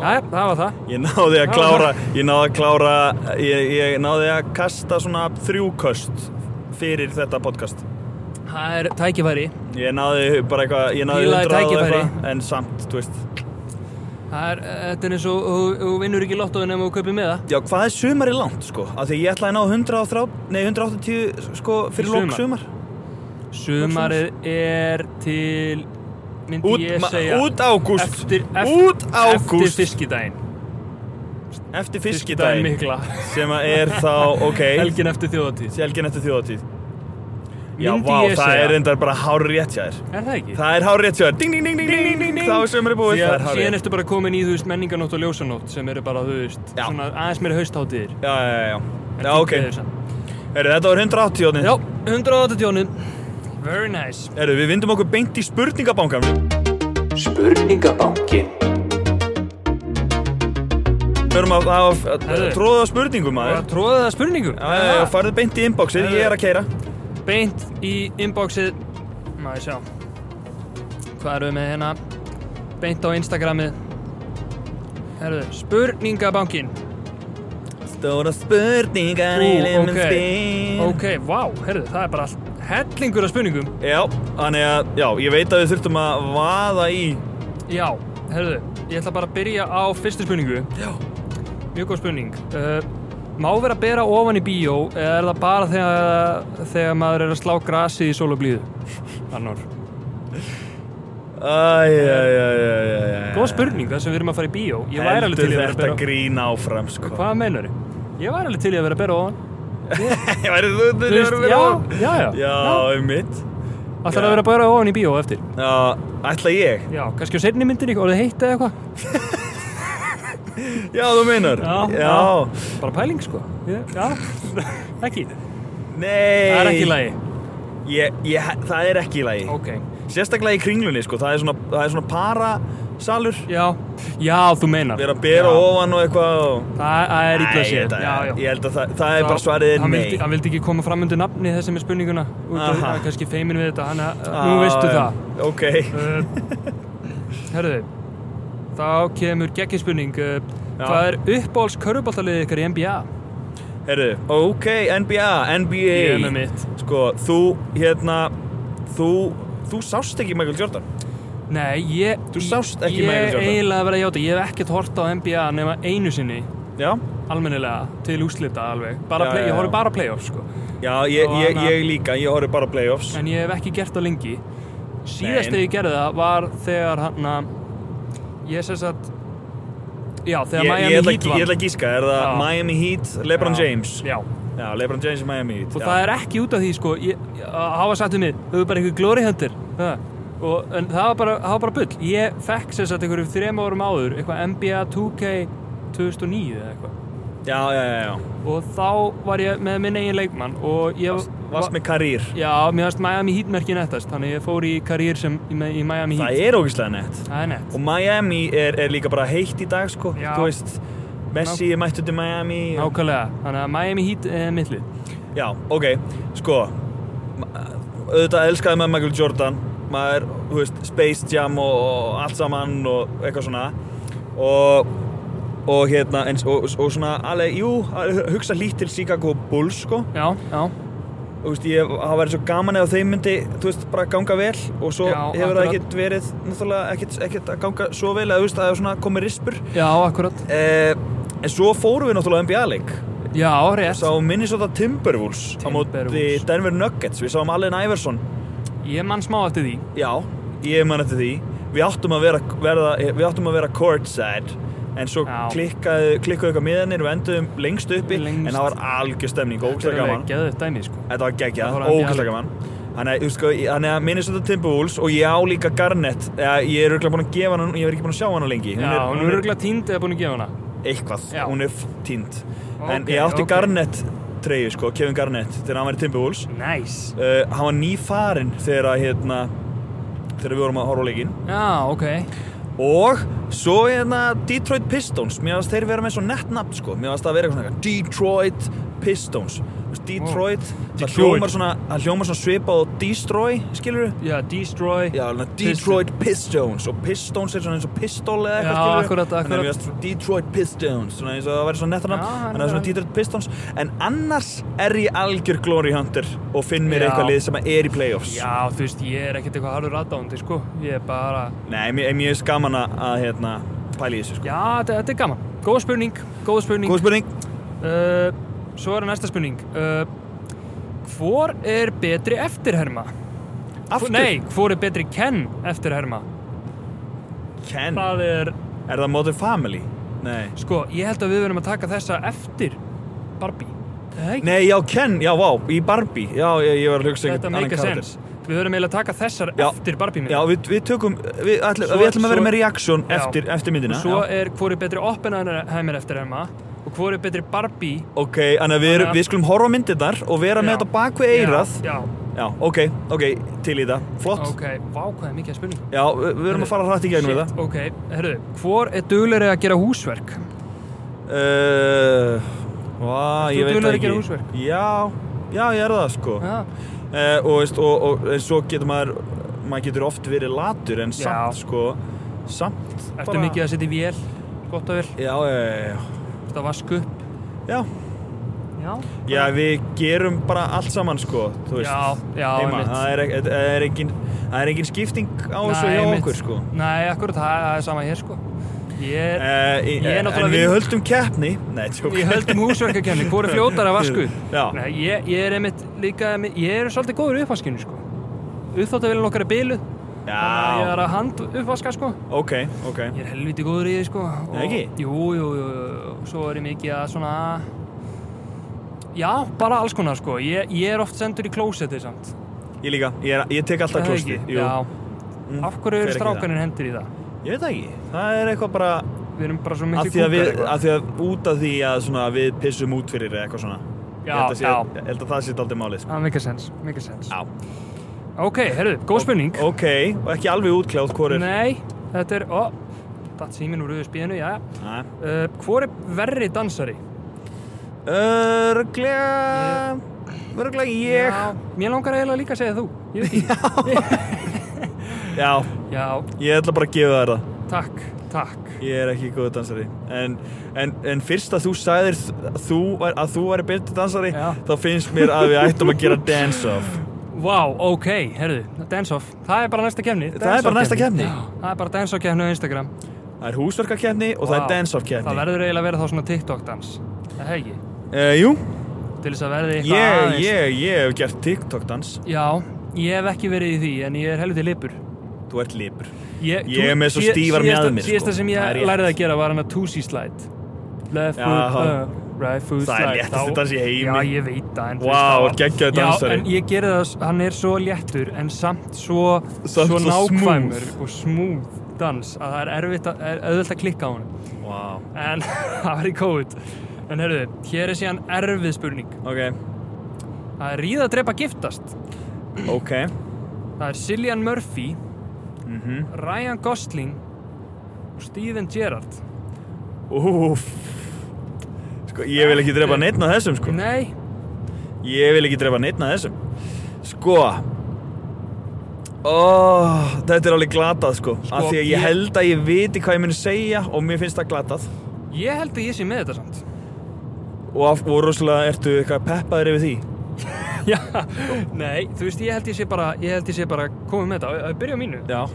B: Jæja, það var það
A: Ég náði að klára, ég náði að klára, ég, ég náði að kasta svona þrjúköst fyrir þetta podcast.
B: Það er tækifæri
A: Ég náði bara eitthvað, ég náði 100
B: Pílaði
A: og
B: tækifæri.
A: eitthvað, en samt, þú veist.
B: Það er, þetta er eins og þú þú vinnur ekki lottóin ef þú kaupir með það
A: Já, hvað er sumari langt, sko? Af því ég ætlaði að ná 103, nei 180, sko,
B: Í
A: fyrir
B: sumar.
A: lók sumar.
B: Sumarið er til myndi
A: Út,
B: ég
A: ma-
B: segja
A: út ágúst,
B: eftir, eftir,
A: út
B: eftir
A: ágúst,
B: fiskidaginn
A: eftir
B: Fiskidaginn
A: fiskidaginn,
B: mikla
A: sem að er þá, ok,
B: Helgin eftir þjóðatíð
A: helgin eftir þjóðatíð. Já,
B: Myndi
A: vá,
B: ég
A: það
B: segja.
A: er reyndar bara hár rétt hjá þér.
B: Er það ekki?
A: Það er hár rétt hjá þér. Ding, ding, ding, ding, ding, ding, ding. Þá er sumari búið.
B: Því
A: Það
B: að
A: er hárrétt.
B: síðan ertu bara komin í þú veist menninganótt og ljósanótt sem eru bara þú veist
A: Já.
B: svona aðeins meira haustháttiðir
A: Já, já, já, já. Já, ok.
B: Já,
A: Herru, þetta var 180 átnið.
B: 180 jónum Very nice
A: Herru, við vindum okkur beint í spurningabankan.
E: Spurningabankin
A: Við höfum að, að, að, að
B: Herru.
A: tróða spurningum, maður.
B: Tróðið það spurningum
A: Já, já, já, farðu beint í inboxið,
B: Herru.
A: ég er að keira.
B: beint í inboxið Má ég sjá Hvað erum við með hérna Beint á Instagramið Herðu, spurningabankin
A: Stóra spurningar í limum
B: ok,
A: spil.
B: ok, vá, herðu, það er bara allt hellingur af spurningum
A: Já, þannig að, já, ég veit að við þurftum að vaða í.
B: Já, herðu, ég ætla bara að byrja á fyrstu spurningu
A: Já.
B: Mjög góð spurning uh, Má vera að bera ofan í bíó eða er það bara þegar, þegar maður er að slá grasi í sól og blíðu? Annor
A: Æj, æj, æj, æj, æj.
B: Góð spurning þar sem við erum að fara í bíó Ég væri alveg til í að vera að
A: Eh. Heldur þetta
B: bera
A: grín áfram, sko.
B: Hvað meinar þið? Ég væri alveg til í að vera að bera ofan
A: Ég væri þú til í að
B: Þú veist,
A: vera
B: já,
A: áfram.
B: já, já,
A: Já,
B: já.
A: um mitt.
B: Það þarf að vera að bera ofan í bíó á eftir
A: Já, ætla ég.
B: Já, kannski á seinni myndinni orðið heitt eða eitthvað
A: Já, þú meinar. já.
B: Bara pæling sko Ég- Já, ekki
A: Nei
B: Það er ekki í lagi
A: ég, ég, Það er ekki í lagi
B: Ok
A: Sérstaklega í kringlunni sko Það er svona, það er svona parasalur
B: Já, já, þú meinar
A: Við erum að bera
B: Já.
A: ofan og eitthvað og...
B: Það það er illa
A: Æ,
B: séð
A: þetta-
B: Já, já
A: Ég held að það, það er bara
B: Þá-
A: svarið er
B: hann
A: nei
B: vildi, hann vildi ekki koma fram undir nafni þessi með spurninguna út
A: Aha.
B: af
A: Ah.
B: það er kannski feimin við þetta hann að nú veistu
A: það
B: það
A: Ok
B: uh, herðu þá kemur geggin spurning uh,
A: Já.
B: hvað er uppbóls köruboltaliðið ykkar í NBA
A: Herru, ok, NBA, NBA
B: Ég er með mitt.
A: Sko, þú, hérna Þú, þú sást ekki Michael Jordan
B: nei ég
A: Þú sást ekki
B: ég
A: Michael Jordan.
B: eiginlega verið að játa ég hef ekkert hort á NBA nema einu sinni
A: Já,
B: almennilega til úslita alveg bara
A: Já,
B: play,
A: já,
B: ég
A: já.
B: horf bara á playoff sko.
A: já ég,
B: Og
A: ég,
B: hana-
A: ég líka, ég horfði bara á playoffs
B: en ég hef ekki gert það lengi
A: Nei.
B: síðast þegar ég gerði það var þegar hann að ég sess að já,
A: Ég,
B: þegar
A: ég, ætla,
B: Miami
A: að-
B: Heat
A: ég
B: vann
A: ætla að gíska, er það
B: Já.
A: Miami Heat, LeBron
B: Já.
A: James
B: já.
A: Já, LeBron James og Miami Heat
B: og
A: já.
B: það er ekki út af því sko ég, ég- að hafa sagt um mig, þau eru bara einhver glory hunter það. Og, en það var bara, það var bara bull ég fekk sess að einhverjum þrema árum áður eitthvað NBA 2K 2009 eða eitthvað
A: Já, já, já, já,
B: og þá var ég með minn eigin leikmann og ég
A: varst með karýr
B: Já, mér varst Miami Heat merkin ettast þannig ég fór í karýr sem í, með- í Miami
A: Það
B: Heat
A: er ógislega nett
B: Það er nett
A: Og Miami er, er líka bara heitt í dag, sko
B: Já.
A: Þú veist, Messi er mættur til Miami og-
B: Nákvæmlega, þannig að Miami Heat er mittlið
A: Já, ok, sko ma- auðvitað elskaði maður Michael Jordan maður, þú veist, Space Jam og, og allt saman og eitthvað svona og, og hérna eins, og, og svona alveg, jú, að hugsa lít til Chicago Bulls, sko
B: Já, já,
A: og þú veist, ég, það væri svo gaman eða þeim myndi, þú veist, bara ganga vel og svo
B: Já,
A: hefur það
B: akkurat.
A: ekkert verið náttúrulega ekkert, ekkert að ganga svo vel eða þú veist, það er svona komið rispur
B: já, akkurat
A: eh, en svo fórum við náttúrulega NBA-leik
B: Já, rétt,
A: sáum Minnesota Timberwolves á móti
B: Timberwolves.
A: Denver Nuggets, við sáum Allen Iverson
B: ég mann smá eftir því
A: já, ég man eftir því við áttum að vera, verða, við áttum að vera courtside en svo
B: Já.
A: klikkaðu klikkaðu eitthvað miðanir og enduðum lengst uppi
B: Lengst.
A: en það var algjör stemning, ógæslega gaman
B: Geðu þetta dæmi, sko
A: þetta var geggjað,
B: Það var
A: ógæslega gaman Þannig að, þú veist sko, ég- þannig að Minnesota Timberwolves og ég á líka Garnett eða, ég er örgulega búin að gefa hann, ég er ekki búin að sjá hann lengi
B: Já, hún er örgulega tínd eða búin að gefa hana
A: eitthvað,
B: Já.
A: hún er tínd en
B: Ok,
A: ég átti
B: ok.
A: Garnett treyju sko, Kevin Garnett þegar hann var í Timberwolves
B: Næs
A: uh, hann var nýfarinn þegar að hérna þegar við vorum að horfa á leikinn
B: Já, ok
A: og svo hérna Detroit Pistons mér finnst þeir vera með svo nett nafn sko mér finnst það vera eitthvað svona Detroit Pistons Þú veist, Detroit, það
B: Detroit.
A: hljómar svona það hljómar svona svipað og Destroy skilur við
B: Já, Destroy
A: Já, hérna, Detroit Pistons og Pistons er svona eins og pistol eða eitthvað
B: Já,
A: skilurðu. Þannig
B: akkurat,
A: að
B: akkurat.
A: mér finnst Detroit Pistons svona eins og það væri svona nettan
B: Já,
A: en
B: hann
A: það
B: er
A: er svona
B: alveg-
A: Detroit Pistons en annars er ég algjör glory hunter og finn mér
B: Já.
A: eitthvað lið sem er í playoffs
B: Já, þú veist, ég er ekkert eitthvað harður aðdándi, sko Ég er bara
A: Nei, mér er mjög skaman að, að hérna, pæla í þessu sko.
B: Já, þetta, þetta er gaman Góð spurning, góð spurning
A: Góð spurning.
B: Uh, svo er það næsta spurning uh, Hvor er betri eftirherma?
A: Aftur.
B: Nei, hvor er betri Ken eftirherma?
A: Ken.
B: Það er,
A: Er það Modern Family? Nei.
B: sko, ég held að við verðum að taka þessa eftir Barbie Nei,
A: Nei, já, Ken. Já, vá. Í Barbie. Já, ég, ég var að hugsa einhvern
B: þetta make a sense Við verðum eiginlega að taka þessar
A: Já.
B: eftir Barbie
A: Já,
B: mynd
A: við, við tökum, við ætlum,
B: Svo-
A: við ætlum að vera
B: svo-
A: með reaction
B: Já.
A: eftir, eftir myndina.
B: Svo
A: já.
B: er hvor er betri Oppenheimer eftirherma og hvor er betri Barbie
A: Ok, þannig að við, erum-
B: Þannig að-
A: við skulum horfa á myndirnar og vera með
B: Já.
A: þetta bak við eirað.
B: Já, já,
A: Já. ok, ok, til í þetta. Flott.
B: ok, vá hvað er mikið að spurningu
A: Já, við, við erum að fara hrætt í gegnum við
B: Shit,
A: það.
B: ok, herruðu, hvor er duglegri að gera húsverk?
A: Uh, vá,
B: Ert þú
A: ég veit
B: duglegur
A: það
B: að gera
A: ekki.
B: húsverk?
A: Já, já, ég er það sko.
B: Já,
A: Eh, og, veist, og, og en svo getur maður maður getur oft verið latur en
B: Já.
A: samt sko samt
B: Ertu mikið að setja í vél, gott að vel,
A: já, já, já,
B: ertu að vaska upp?
A: já,
B: Já.
A: já, já, við gerum bara allt saman sko þú veist,
B: Já, já,
A: heima
B: einmitt.
A: það er, ek- það er engin það er engin skipting á þessu hjá okkur sko
B: Nei, akkur, það það er sama hér sko. Ég er,
A: eh, í-
B: Ég er náttúrulega
A: en við
B: vinn-
A: höldum keppni nei, tjók
B: ég höldum húsverkakefni, hvor er fljótar að vasku?
A: Já.
B: Nei, ég, ég er einmitt líka, ég er svolítið góður í uppvaskinu sko. Uppþáttavélun okkar er biluð, þannig að ég
A: já,
B: er að hand uppvaska sko.
A: ok, ok
B: Ég er helviti góður í því sko og,
A: Nei, ekki?
B: Jú, jú, jú, jú, svo er ég mikið að svona Já, bara alls konar sko Ég, ég er oft sendur í klósetti samt
A: ég líka, ég, er, ég tek alltaf
B: Er það
A: klosti
B: ekki?
A: jú.
B: Já,
A: Mm,
B: af hverju
A: fer
B: eru
A: ekki í
B: strákanir hendur í það?
A: það. ég veit það ekki, það er eitthvað bara
B: Við erum bara svo
A: að því
B: mikið
A: að,
B: kúkar
A: við,
B: eitthvað.
A: að því að út af því að svona, við pissum út fyrir eða eitthvað svona
B: Já,
A: ég held að, sé,
B: já.
A: ég held að það sé aldrei málið sko.
B: Það mikið sens, mikið sens
A: Já.
B: Ok, herru, góð spurning
A: ok, og ekki alveg útkláð hvor er
B: Nei, þetta er, ó, datt síminn úr USB-inu, já
A: Nei.
B: uh, Hvor er verri dansari?
A: örglega örglega ég já.
B: Já, mér langar eiginlega líka að segja þú Ég veit ekki Já,
A: ég ætla bara að gefa þér það
B: takk, takk
A: ég er ekki góð dansari en, en, en fyrst að þú sagðir þ- þú, væri- að þú væri betri dansari
B: Já.
A: þá finnst mér að við ættum að gera dance-off
B: Vá, ok, herðu, dance off Það er bara næsta kemni
A: Það er bara næsta keppni.
B: Það er bara dance off kemni á Instagram
A: Það er húsverkakeppni og það
B: Vá.
A: er dance-off-keppni.
B: Það verður eiginlega að vera þá svona TikTok-dans. Það hegi.
A: Eh, jú,
B: Til þess að verði eitthvað
A: ég,
B: aðeins.
A: ég, ég hef gert TikTok-dans.
B: Já, ég hef ekki verið í því, en ég er helviti lipur.
A: Þú ert lipur.
B: Ég,
A: Ég er með svo
B: síð-
A: stífar
B: síðasta-
A: mjaðmir, sko.
B: Síðasta sem
A: Það er
B: ég
A: rétt.
B: lærið að gera var hann að two-see slide. Left
A: Já,
B: foot
A: það-
B: up, right foot
A: það
B: slide.
A: er léttasti
B: Þá-
A: dans í heimi.
B: Já, ég veit það. en þú
A: Vá,
B: veist, það var-
A: geggjaður dansari.
B: Já, en ég gerði það, s- hann er svo léttur, en samt svo,
A: Samt
B: svo
A: svo
B: nákvæmur
A: smooth.
B: og smooth dans að það er erfitt að, er auðvelt að klikka á hann.
A: Vá.
B: En það var í kóðut. En herruðu, hér er síðan erfið spurning.
A: Ok,
B: Það er ríða að drepa giftast.
A: ok.
B: Það er Cillian Murphy,
A: Mhm.
B: Ryan Gosling og Steven Gerrard.
A: Úf. Sko, ég vil ekki drepa neittn að þessum, sko.
B: Nei,
A: Ég vil ekki drepa neittn að þessum. Sko. Oh, þetta er alveg glatað, sko. Af því að ég
B: ég-
A: held að ég viti hvað ég muni segja og mér finnst það glatað.
B: ég held að ég sé með þetta samt.
A: Og, af, og rosalega ertu eitthvað peppaður yfir því.
B: Já, nei, þú veist, ég held ég sé bara, ég held ég sé bara komið með þetta. Að byrja á mínu,
A: Já.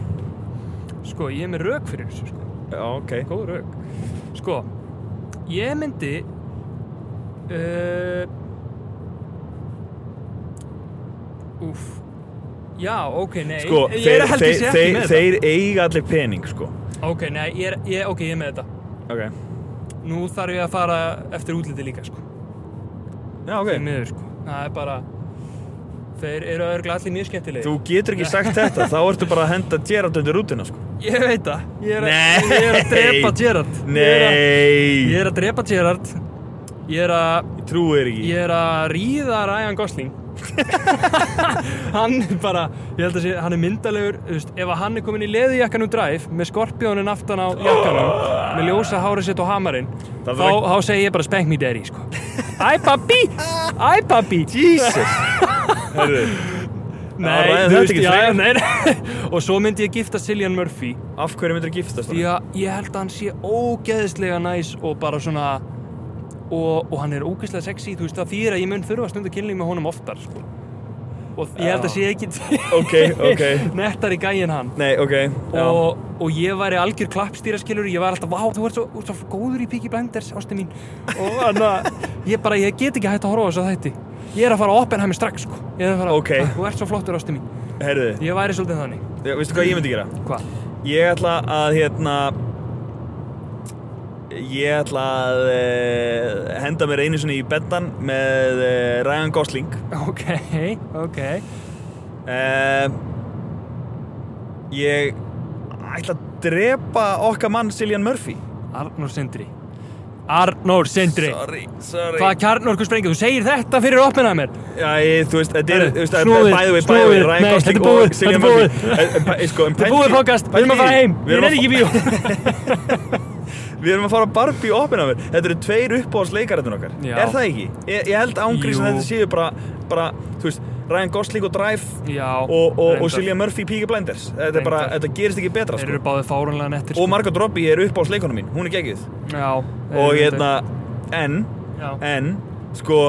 B: sko, ég er með rauk fyrir þessu, sko.
A: Já, ok.
B: Góð rauk. Sko, ég myndi... Uh, úf. Já, ok, nei.
A: Sko,
B: ég
A: þeir,
B: er held ég
A: þeir,
B: sé ekki
A: þeir,
B: með þetta.
A: þeir eiga allir pening, sko.
B: Ok, nei, ég er, ég, ok, ég er með þetta.
A: Ok.
B: Nú þarf ég að fara eftir útliti líka, sko.
A: Já,
B: Ég er
A: ok.
B: meður, sko. Það er bara... Þeir eru örgulega allir mjög skemmtilegir.
A: Þú getur ekki sagt þetta, þá ertu bara að henda Gerard undir rútina, sko.
B: Ég veit það. Ég er, að,
A: Nei.
B: ég er að drepa Gerard. Ég er að,
A: Nei,
B: ég er að drepa Gerard. Ég er að...
A: ég trúi þér ekki.
B: Ég er að ríða Ryan Gosling. hann er bara, ég held að sé, hann er myndalegur, þú veist, ef að hann er komin í leðijakkan úr dræf með skorpjónin aftan á jakkanum, með ljósa hárið sitt og hamarinn, þá,
A: Það
B: þá,
A: var-
B: segi ég bara spank me daddy, sko. Æ pappi, æ pappi.
A: Jesus! Herðu,
B: Nei,
A: ræðir
B: þú
A: þetta
B: veist,
A: ekki
B: já,
A: frekar.
B: nei, nei. Og svo myndi ég gifta Cillian Murphy,
A: af hverju myndir þú giftast
B: því
A: það?
B: að ég held að hann sé ógeðslega næs og bara svona, og, og hann er ógeðslega sexy, þú veist, það þýðir að ég mun þurfa að stunda kynlíf með honum oftar, sko. Og ég held að sé ekki
A: Ok, ok.
B: nettar í gæin hann.
A: Nei, ok, já.
B: og, og ég væri algjör klappstýraskilur ég væri alltaf, vá, þú ert svo, þú ert svo góður í Peaky Blinders, ástu mín og anna, ég bara, ég get ekki hægt að horfa á þess að þetta ég er að fara á Oppenheimer strax sko. ég er að fara,
A: Ok.
B: þú ert svo flottur ástu mín
A: Herðu,
B: ég væri svolítið þannig
A: já, veistu hvað ég myndi gera?
B: Hva?
A: Ég ætla að, hérna, ég ætla að uh, henda mér einu sinni í beddan með uh, Ryan Gosling.
B: ok, ok
A: Uh, ég ætla að drepa okkar mann Cillian Murphy.
B: Arnór Sindri Arnór Sindri
A: Sorry, sorry.
B: Hvaða kjarnorku sprengið? Þú segir þetta fyrir Oppenheimer
A: Já, ég, þú veist, þetta er,
B: Herru,
A: þú veist, það
B: snúið,
A: er bæði við, bæði
B: snúið.
A: við, Ryan
B: Nei,
A: Gosling
B: þetta er búið,
A: og Cillian
B: þetta er
A: Murphy. Eh, eh, bæ- eh, Sko, en
B: Þetta er búið podcast, við erum að fara heim Við erum ekki í bíó
A: Við erum að fara Barbie og Oppenheimer. Þetta eru tveir uppáhaldsleikarættun okkar.
B: Já.
A: Er það ekki? Ég, ég held ángrísin
B: Jú.
A: að þetta séu bara, bara, þú veist, Ryan Gosling og Drive
B: Já,
A: og, og, og
B: reyndar.
A: Cillian Murphy í Peaky Blinders. Þetta er bara,
B: Reyndar.
A: þetta gerist ekki betra,
B: Þeir
A: sko.
B: eru báðið fárunlega nettir sko.
A: Og Margot Robbie er uppáhaldsleikonum mín, hún er geggið.
B: Já
A: Og hérna, en,
B: Já.
A: en, sko,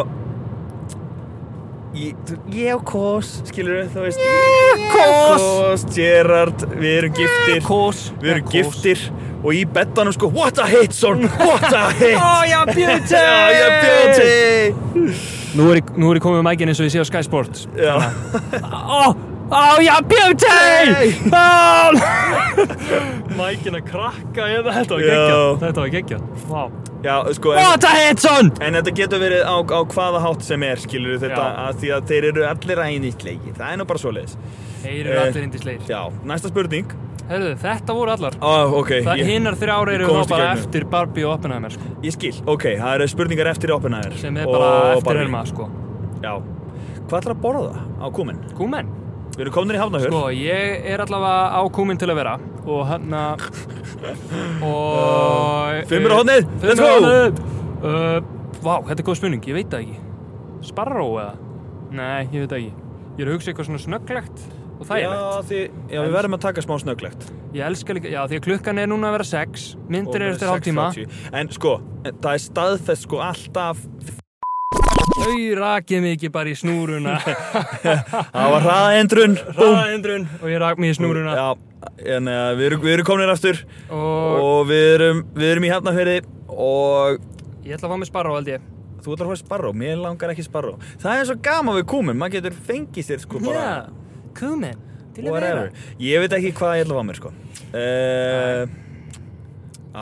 A: ég, þú- ég og Kós, skilur þú veist, ég og
B: Kos.
A: Kós, Gerard, við erum giftir,
B: Kós
A: við erum giftir og í bettanum sko, what a hit son, what a hit,
B: Oh, yeah, beauty!
A: já, ég bjóti,
B: Nú er, ég- nú er ég komið með mækinn eins og ég sé á Sky Sports.
A: já,
B: Ó, ó, já, beauty!
A: Hey!
B: Ó! Mækinn að krakka, ég, þetta var
A: Já.
B: geggjað. Þetta var geggjað. Vá.
A: já, sko, en,
B: What a hit, son!
A: en þetta getur verið á, á hvaða hátt sem er, skilur þetta,
B: Já.
A: að því að þeir eru allir æðislegir, það er nú bara svoleiðis,
B: Þeir
A: Eh.
B: eru allir indisleir.
A: já, næsta spurning,
B: Herðu, þetta voru allar.
A: ah, ok,
B: Það
A: ég,
B: hinnar þrjár
A: ég
B: eru
A: komst í
B: þá bara
A: gegnum.
B: eftir Barbie og Oppenheimer, sko.
A: Ég skil, ok, það eru spurningar eftir Oppenheimer
B: Sem er
A: og
B: bara eftir
A: Barbie.
B: herma, sko.
A: Já Hvað ætlar að borða á kúminn?
B: Kúmen.
A: Við erum komin í Hafnarfjörð
B: Sko, ég er allavega á kúminn til að vera. Og hann að... Og...
A: Fimmur á hornið,
B: Fimm
A: let's go!
B: á hornið. Uh, Vá, þetta er góð spurning, ég veit það ekki Sparró eða? Nei, ég veit það ekki Ég er að hugsa eitthvað svona snögglegt og þægilegt
A: Já, því, já við verðum að taka smá snögglegt
B: Ég elska líka, já því að klukkan er núna að vera 6
A: Og
B: Myndir
A: það
B: eru
A: er
B: eftir hálftíma
A: 6:30. En sko, en það er staðfest sko alltaf
B: Þau rakið mig ekki bara í snúruna
A: Það var hraðaendrun Búm.
B: Hraðendrun Og ég rak mig í snúruna
A: Já, en uh, við, erum, við erum komin aftur
B: Og
A: og við erum, við erum í hafnafyrði og
B: ég ætla að fá mig sparra held ég
A: þú ætlar að fá sparró, mér langar ekki sparró það er svo gaman við kúmum, maður getur fengið sér sko bara,
B: kumin Til
A: whatever ég veit ekki hvað ég ætla að fá mér sko uh,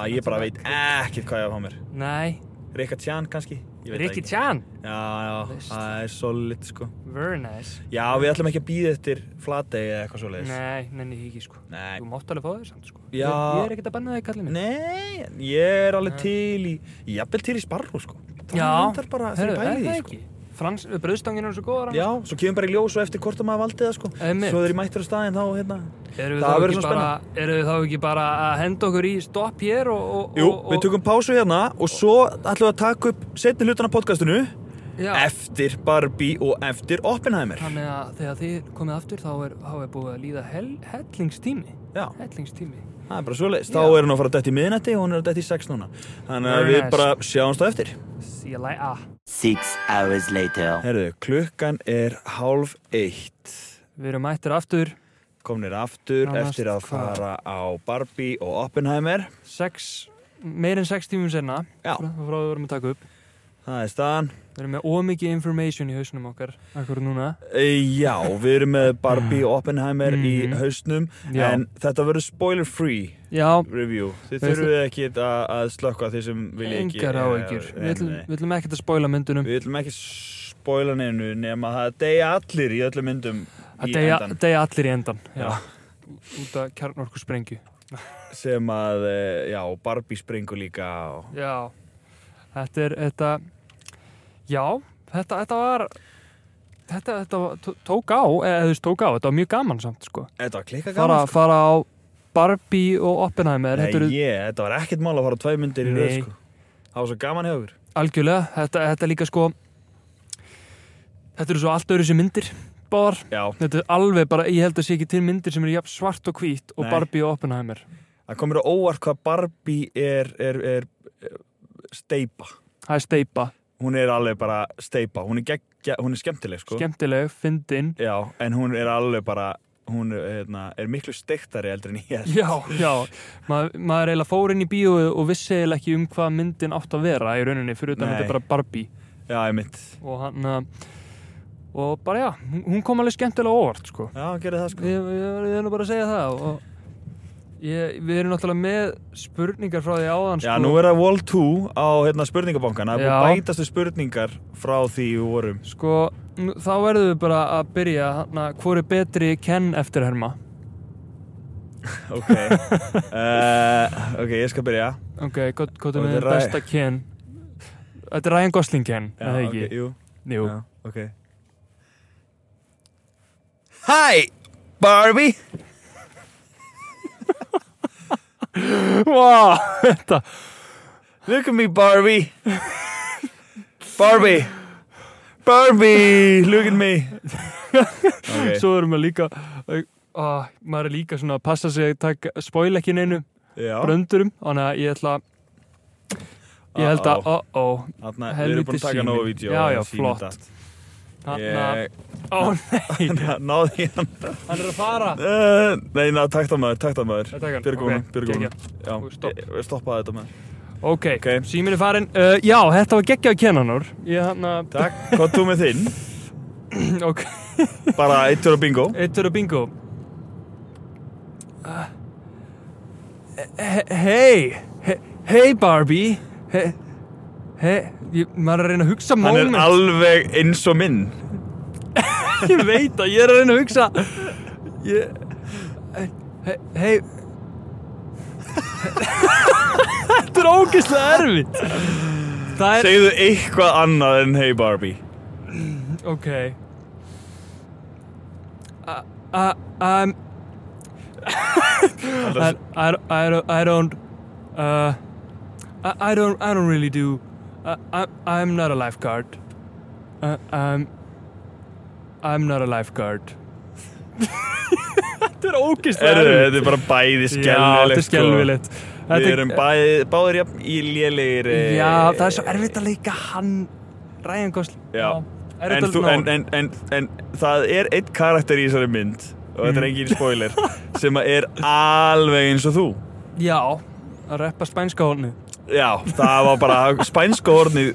A: að ég bara veit ekkert hvað ég ætla að fá mér
B: Nei,
A: Rikka Tjan kannski, ég veit það
B: Rikki
A: ekki
B: Chan
A: já, já,
B: Veist.
A: það er solid sko
B: Very nice
A: já, við ætlum ekki að býða eftir flategi eða eitthvað svoleiðis
B: Nei, nenni því ekki sko
A: Nei.
B: Þú mátt alveg fá þér samt sko
A: Já.
B: Ég ég er ekkert að banna það í kallinu
A: Nei, ég er alveg til í jafnvel til í sparró sko það er bara þegar ég
B: heyrðu,
A: pæli í því
B: það
A: sko
B: ekki Frans, bröðstanginu er svo góða
A: Já, svo kemur bara í ljós og eftir hvort að maður valdi það sko
B: Einmitt.
A: Svo þeir eru mættir á staðinn þá hérna
B: Erum við,
A: Það
B: þá
A: verður
B: ekki
A: svona
B: bara, erum við þá ekki bara að henda okkur í stopp hér og, og,
A: Jú,
B: og, og
A: við tökum pásu hérna og svo ætlum við að taka upp setni hlutana podcastinu
B: já,
A: Eftir Barbie og eftir Oppenheimer
B: Þannig að þegar þið komið aftur þá er, þá er búið að líða hel, hellingstími
A: Já,
B: Hellingstími
A: það er bara svoleiðis
B: Já.
A: Þá er hún að fara að dætt í miðnætti og hún er að dætt í sex núna Þannig að
B: Very
A: við
B: nice.
A: bara sjáumst á eftir
B: Sílæ-a
D: Six hours later.
A: Herðu, klukkan er hálf eitt
B: Við erum mættir aftur
A: Komnir aftur
B: Nánast
A: eftir að
B: hvað?
A: fara á Barbie og Oppenheimer
B: sex, meir en sex tímum senna
A: Já,
B: frá frá því við vorum að taka upp
A: það er staðan
B: Við erum með ómikið information í hausnum okkar akkur núna
A: E, Já, við erum með Barbie og Oppenheimer
B: Mhm.
A: í hausnum
B: Já.
A: en þetta verður spoiler free
B: Já,
A: review Þið
B: Veistu-
A: þurfum ekki að, að slökka því sem vilja ekki
B: engar á ekkir
A: Eh,
B: Við ætlum-
A: nei.
B: við ætlum ekkert að spoila myndunum
A: Við ætlum ekki spoila neinu nema að það deyja allir í öllum myndum í
B: að deyja,
A: endan
B: deyja allir í endan já.
A: Já.
B: Út af kjarnorku sprengju
A: sem að, eh, já, Barbie springur líka og...
B: Já, þetta er þetta, já, þetta, þetta var þetta, þetta var- tó- tók á eða þú veist tók á, þetta var mjög gaman samt sko.
A: Þetta var klikka
B: fara,
A: gaman sko.
B: fara á Barbie og Oppenheimer,
A: Nei,
B: þetta eru
A: ég, þetta var ekkert mál að fara á tvær myndir í röð
B: Nei.
A: sko. Það var svo gaman hjá okkur
B: algjörlega, þetta, þetta er líka sko þetta eru svo allt öðru sem myndir báðar,
A: Já,
B: þetta er alveg bara ég held að sé ekki til myndir sem eru jafn svart og hvít og
A: Nei.
B: Barbie og Oppenheimer
A: það komur á óvart hvað Barbie er, er, er, er steipa
B: það er steipa,
A: hún er alveg bara steipa hún er, geggja, hún er skemmtileg sko
B: skemmtileg, fyndin
A: Já, en hún er alveg bara hún er, hérna, er miklu steiktari eldur en ég er.
B: Já, já, Ma, maður eiginlega fór inn í bíóið og vissi eiginlega ekki um hvað myndin átt að vera í rauninni fyrir utan
A: Nei.
B: þetta er bara Barbie
A: Já, ég mitt
B: og hann uh, og bara já, hún- hún kom alveg skemmtilega óvart sko.
A: Já, hún gerir það sko
B: ég, ég, ég er nú bara að segja það og ég, við erum náttúrulega með spurningar frá því áðan sko.
A: Já, nú er það Wall 2 á hérna, spurningabankan það er búið
B: Já.
A: að bætast við spurningar frá því við vorum
B: sko, nú- þá verðum við bara að byrja hana, hvor er betri Ken eftir Herma
A: Ok, uh, okay ég skal byrja
B: ok, hvað hvað
A: Og þetta
B: er með
A: er Ry-
B: besta Ken þetta er Ryan Gosling Ken
A: Já,
B: eða
A: ok,
B: ekki?
A: jú,
B: jú,
A: Já, ok Hi, Barbie
B: Vá, þetta
A: Look at me, Barbie. Barbie. Barbie, look at me. Okay.
B: svo erum við líka að, maður er líka svona að passa sig að taka, spoil ekki neinu
A: já,
B: bröndurum, þannig að ég ætla ég held að, oh oh
A: Þarna, við
B: helviti
A: erum búin að taka
B: síminn.
A: nógu vídeo.
B: Já, já, flott.
A: Þannig
B: hann nei,
A: að náði ég hann.
B: hann er að fara
A: Uh, nei, ná, takta maður, takta maður.
B: Nei, taka hann.
A: Björgum,
B: Ok,
A: okay. björgum.
B: geggjað.
A: Já,
B: Og stopp.
A: ég- ég stoppaði þetta maður.
B: ok,
A: Ok.
B: símin er farin uh, já, þetta var geggjað kennanur ég hann að,
A: Takk, hvað þú með þinn?
B: ok,
A: Bara eittur og bingo.
B: eittur og bingo Ah. He- hei he- hei Barbie hei Hey, ég, maður er að reyna að hugsa
A: Hann
B: moment
A: er alveg eins og minn.
B: ég veit að ég er að reyna að hugsa ég hei hei þetta er ógeðslega erfitt það er
A: Segðu eitthvað annað en hey Barbie.
B: ok Ah, I- I- I'm I, I, I, don't- I don't uh, I, I don't I don't really do I, I, I'm not a lifeguard uh, I'm I'm not a lifeguard Þetta er ógislega
A: Erðu, þetta er bara bæði skelvilegt.
B: Já, þetta er
A: sko.
B: skelvilegt
A: Við erum bæði, báðir jafn í lélegir
B: Já, það er svo erfitt að leika hann Ryan Gosling
A: Já.
B: Eric
A: en, þú, en,
B: Dalton
A: en, en, en það er einn karakter í þessari mynd og þetta
B: Mm.
A: er engin spoiler sem að er alveg eins og þú
B: Já, að reppa spænska hólnu
A: Já, það var bara spænska orðni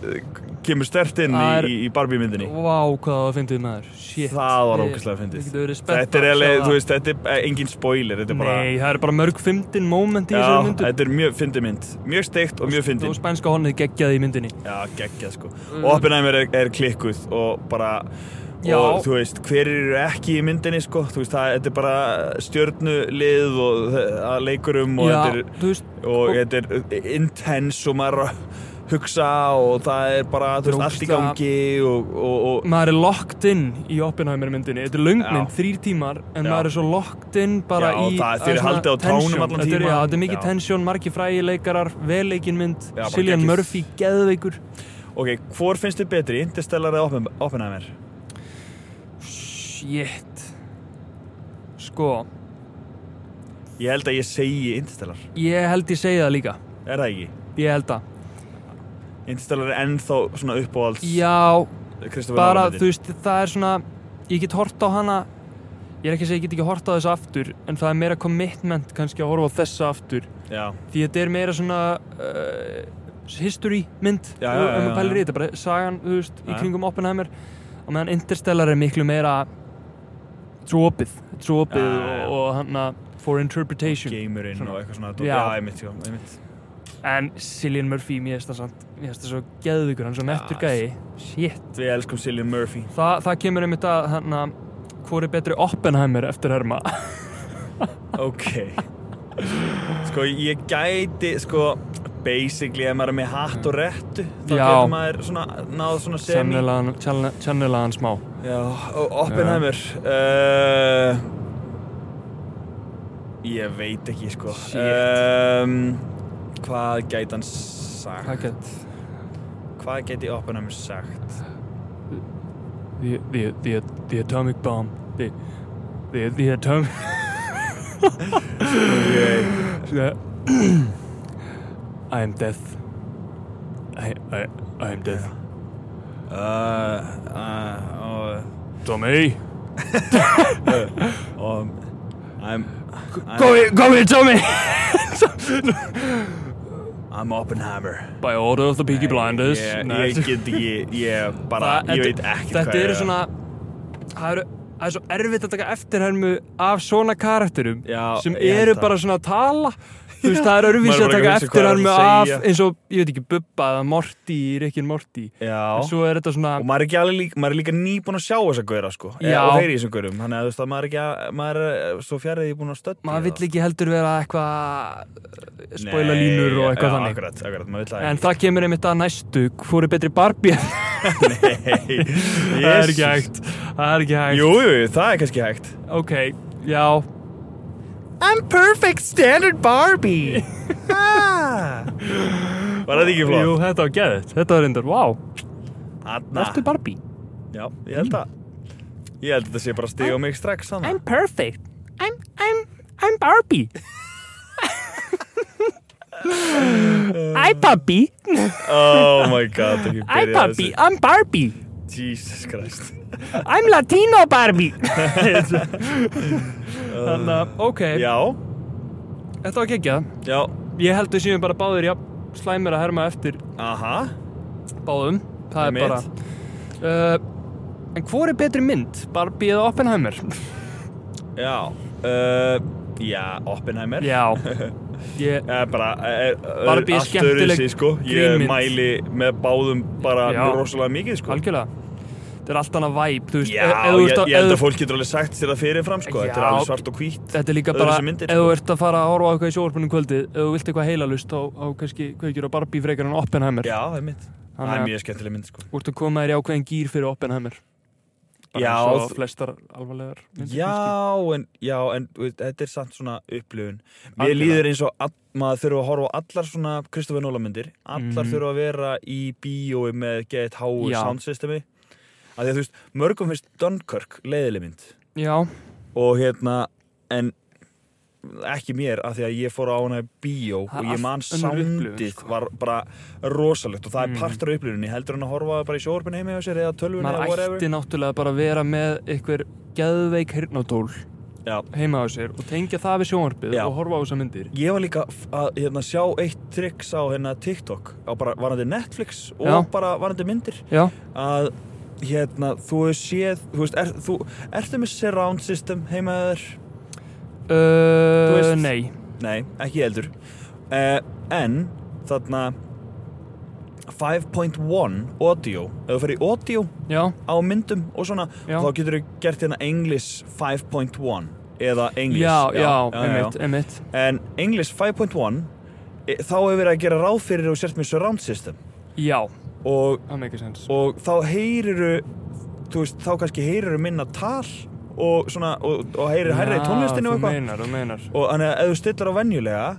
A: kemur stert inn
B: Það er-
A: í, í Barbie myndinni
B: Vá, wow, hvað það var fyndið maður Shit.
A: Það var
B: Ég-
A: ógeðslega fyndið.
B: Ég getur verið spennt
A: Þetta er,
B: að sjá
A: alveg,
B: það.
A: þú veist, þetta er eh, engin spoiler Þetta er bara
B: Nei, það er bara mörg fyndin moment í
A: Já,
B: þessari myndu
A: þetta er mjög fyndið mynd Mjög steikt og mjög
B: Og
A: fyndið
B: spænska hólnið geggjaði í myndinni
A: Já, geggjað sko Og Oppenheimer er, er klikkuð og bara
B: Mm. Já.
A: og þú veist, hver eru ekki í myndinni sko, þú veist, það, þetta er bara stjörnulið og þe- að leikurum og
B: Já,
A: þetta er
B: þú veist
A: og
B: og-
A: þetta er uh, intense og maður er að hugsa og það er bara, þú veist, allt í
B: Drógsta-
A: gangi og, og, og
B: maður er locked in í Oppenheimer myndinni þetta er löngmynd,
A: Já.
B: þrýr tímar en
A: Já.
B: maður er svo locked in bara
A: Já,
B: í
A: það er- þeir
B: að svona
A: haldið á tánum
B: tension.
A: allan
B: þetta er,
A: tímann.
B: já, þetta er mikið
A: Já.
B: tensjón, margir frægi leikarar velleikin mynd,
A: Já, bara
B: Cillian
A: geggjuð.
B: Murphy geðveikur
A: Ok, hvor finnst þið betri, Interstellar eða Oppen- Oppenheimer?
B: shit sko,
A: Ég held að ég segi Interstellar,
B: ég held ég segi það líka
A: er það ekki?
B: ég held það,
A: Interstellar er ennþá svona uppáhalds
B: já
A: Kristoffer
B: bara,
A: Nolan-myndin.
B: þú veist, það er svona ég get hort á hana ég er ekki að segja, ég get ekki hort á þessu aftur en það er meira commitment kannski að horfa á þessa aftur
A: Já,
B: því þetta er meira svona uh, history mynd
A: Já, já, já,
B: um
A: já,
B: að pæla
A: já.
B: í þetta, bara sagan þú veist, í
A: Já.
B: kringum Oppenheimer og meðan Interstellar er miklu meira trópið, trópið
A: Já, já, já.
B: og, og hann að for interpretation
A: Gamerinn
B: Svona.
A: og eitthvað svona
B: Já.
A: Já, einmitt, já, einmitt
B: en Cillian Murphy, mér finnst það samt mér finnst það svo geðvikur, hann er svo mettur
A: Já,
B: gæi shit,
A: Við elskum Cillian Murphy
B: Þa, það kemur einmitt að hann að hvor er betri Oppenheimer eftir Herma
A: Ok Sko, ég gæti, sko Basically, ef maður er með hatt og réttu Þá
B: Já.
A: getur maður svona, náð svona semi
B: sennilega sennilega- sennilega hann smá
A: Já, og Oppenheimer uh, Ég veit ekki sko
B: Shit.
A: um, Hvað gæti hann sagt?
B: Hvað gæti-
A: Hvað gæti Oppenheimer sagt?
B: the, the, the, the atomic bomb the, the, the atomic Yeah. I am death I, I, I am death
A: Uh, uh,
B: Tommy
A: uh, um, I'm,
B: Go here, go here Tommy
A: I'm Oppenheimer
B: By order of the
A: Uh,
B: Peaky Blinders
A: Ég,
B: Nei.
A: ég get ekki, ég bara,
B: Það-
A: ég
B: þetta-
A: veit ekki
B: Þetta eru svona Það eru Það er svo erfitt að taka eftirhermu af svona karakterum
A: Já,
B: sem
A: ég held
B: eru
A: það.
B: bara svona að tala Þú veist, það er
A: Maður
B: örvísi
A: er
B: að
A: bara
B: taka
A: ekki að hugsa hvað
B: eftirhermu
A: er að
B: af
A: segja.
B: eins og, ég veit ekki, Bubba eða Morty í Rikkin Morty
A: Já
B: En svo er þetta svona
A: og maður er ekki alveg líka, maður er líka nýbúin að sjá þessa gauðra sko,
B: Já.
A: og heyri í þessum gauðrum þannig að þú veist að maður er ekki að, maður er eh, svo fjarrið búin að stödd
B: maður vill ekki heldur vera eitthvað spoila línur og eitthvað þannig
A: akkurat, akkurat, maður vill
B: en það kemur einmitt að næstu hvor er betri Barbie
A: það ekki Nei,
B: það
A: Jesus.
B: er ekki hægt það er ekki hægt
A: jú, jú, það er kannski hægt
B: ok, já
A: I'm perfect standard Barbie ah. var það ekki
B: Jú,
A: flott?
B: þetta var geðið, þetta var reyndar, wow
A: Anna,
B: Ertu Barbie?
A: já, ég held að ég held að þetta sé bara stig á mig strax þannig.
B: I'm perfect I'm, I'm, I'm Barbie Hi Barbie
A: oh my god, ekki
B: Hi
A: byrja
B: Barbie, I'm Barbie
A: Jesus Christ
B: I'm Latino Barbie Þannig að, ok,
A: já,
B: þetta var geggjað
A: já,
B: Ég held við séum bara báðir jafn slæmir að herma eftir
A: aha
B: báðum Það er
A: Einmitt.
B: bara uh, En hvor er betri mynd? Barbie eða Oppenheimer?
A: Já, uh, já, Oppenheimer
B: Já Ég,
A: Eh, bara, eh, eh,
B: Barbie er
A: allt
B: skemmtileg
A: öðruvísi, sko. Ég
B: grínmynd.
A: mæli með báðum bara
B: Já.
A: rosalega mikið sko.
B: algjörlega Þetta er allt annað væp
A: Já, ég, ég held að fólk getur alveg sagt sér það fyrirfram sko. Þetta er
B: Já.
A: alveg svart og hvít
B: Þetta er líka
A: öðruvísi
B: bara,
A: myndir,
B: ef
A: sko.
B: þú ert að fara að horfa á eitthvað í sjóvarpunum kvöldið, ef þú vilt eitthvað heilalust, þá, þá kannski kveikir á Barbie frekar en Oppenheimer.
A: Já, það er mitt Það
B: Þannig
A: er
B: að-
A: mjög skemmtileg mynd sko.
B: Þú ert að koma þér í ákveðin gýr fyrir Oppenheimer. Bara
A: Já,
B: eins og
A: þ-
B: flestar alvarlegar myndir kannski.
A: Já, en, já, en þú veist, þetta er samt svona upplifun Mér
B: Algjörlega.
A: líður eins og all, maður þurfa að horfa á allar svona Kristoffer Nóla myndir Allar
B: Mhm.
A: þurfa að vera í bíói með get háu
B: Já.
A: soundsystemi Af því að þú veist, mörgum finnst Dunkirk leiðileg mynd
B: Já,
A: og hérna en ekki mér af því að ég fór á hana í bíó
B: Það er
A: og ég
B: allt
A: man
B: önnur upplifun,
A: sándið
B: sko.
A: var bara rosalegt og það
B: Mm.
A: er partur af upplifunni heldur hann að horfa bara í sjórfinn heima hjá sér eða tölvun eða
B: maður
A: whatever
B: ætti náttúrulega bara að vera með einhver geðveik hirnadól
A: Já.
B: heima á sér og tengja það við sjónvarpið
A: Já.
B: og horfa á þessa myndir
A: Ég var líka f- að hérna, sjá eitt triks á hérna, TikTok á bara varandi Netflix og
B: Já.
A: bara varandi myndir
B: já,
A: að hérna, þú hefur séð þú veist, er, þú, ertu með surround system heima hjá þér?
B: uh,
A: veist-
B: nei
A: Nei, ekki heldur uh, En þarna 5.1 audio ef þú fer í audio
B: já,
A: á myndum og svona
B: Já.
A: þá getur þú gert hérna English 5.1 eða English
B: já, já, einmitt, einmitt
A: En English 5.1 e, þá hefur verið að gera ráð fyrir og sért með surround system
B: já,
A: og,
B: það make sense
A: og þá heyriru þú veist, þá kannski heyriru minna tal og svona, og, og heyrir hærri í tónlistinu og
B: þú
A: eitthvað
B: meinar, þú meinar
A: og þannig að ef þú stillar á venjulega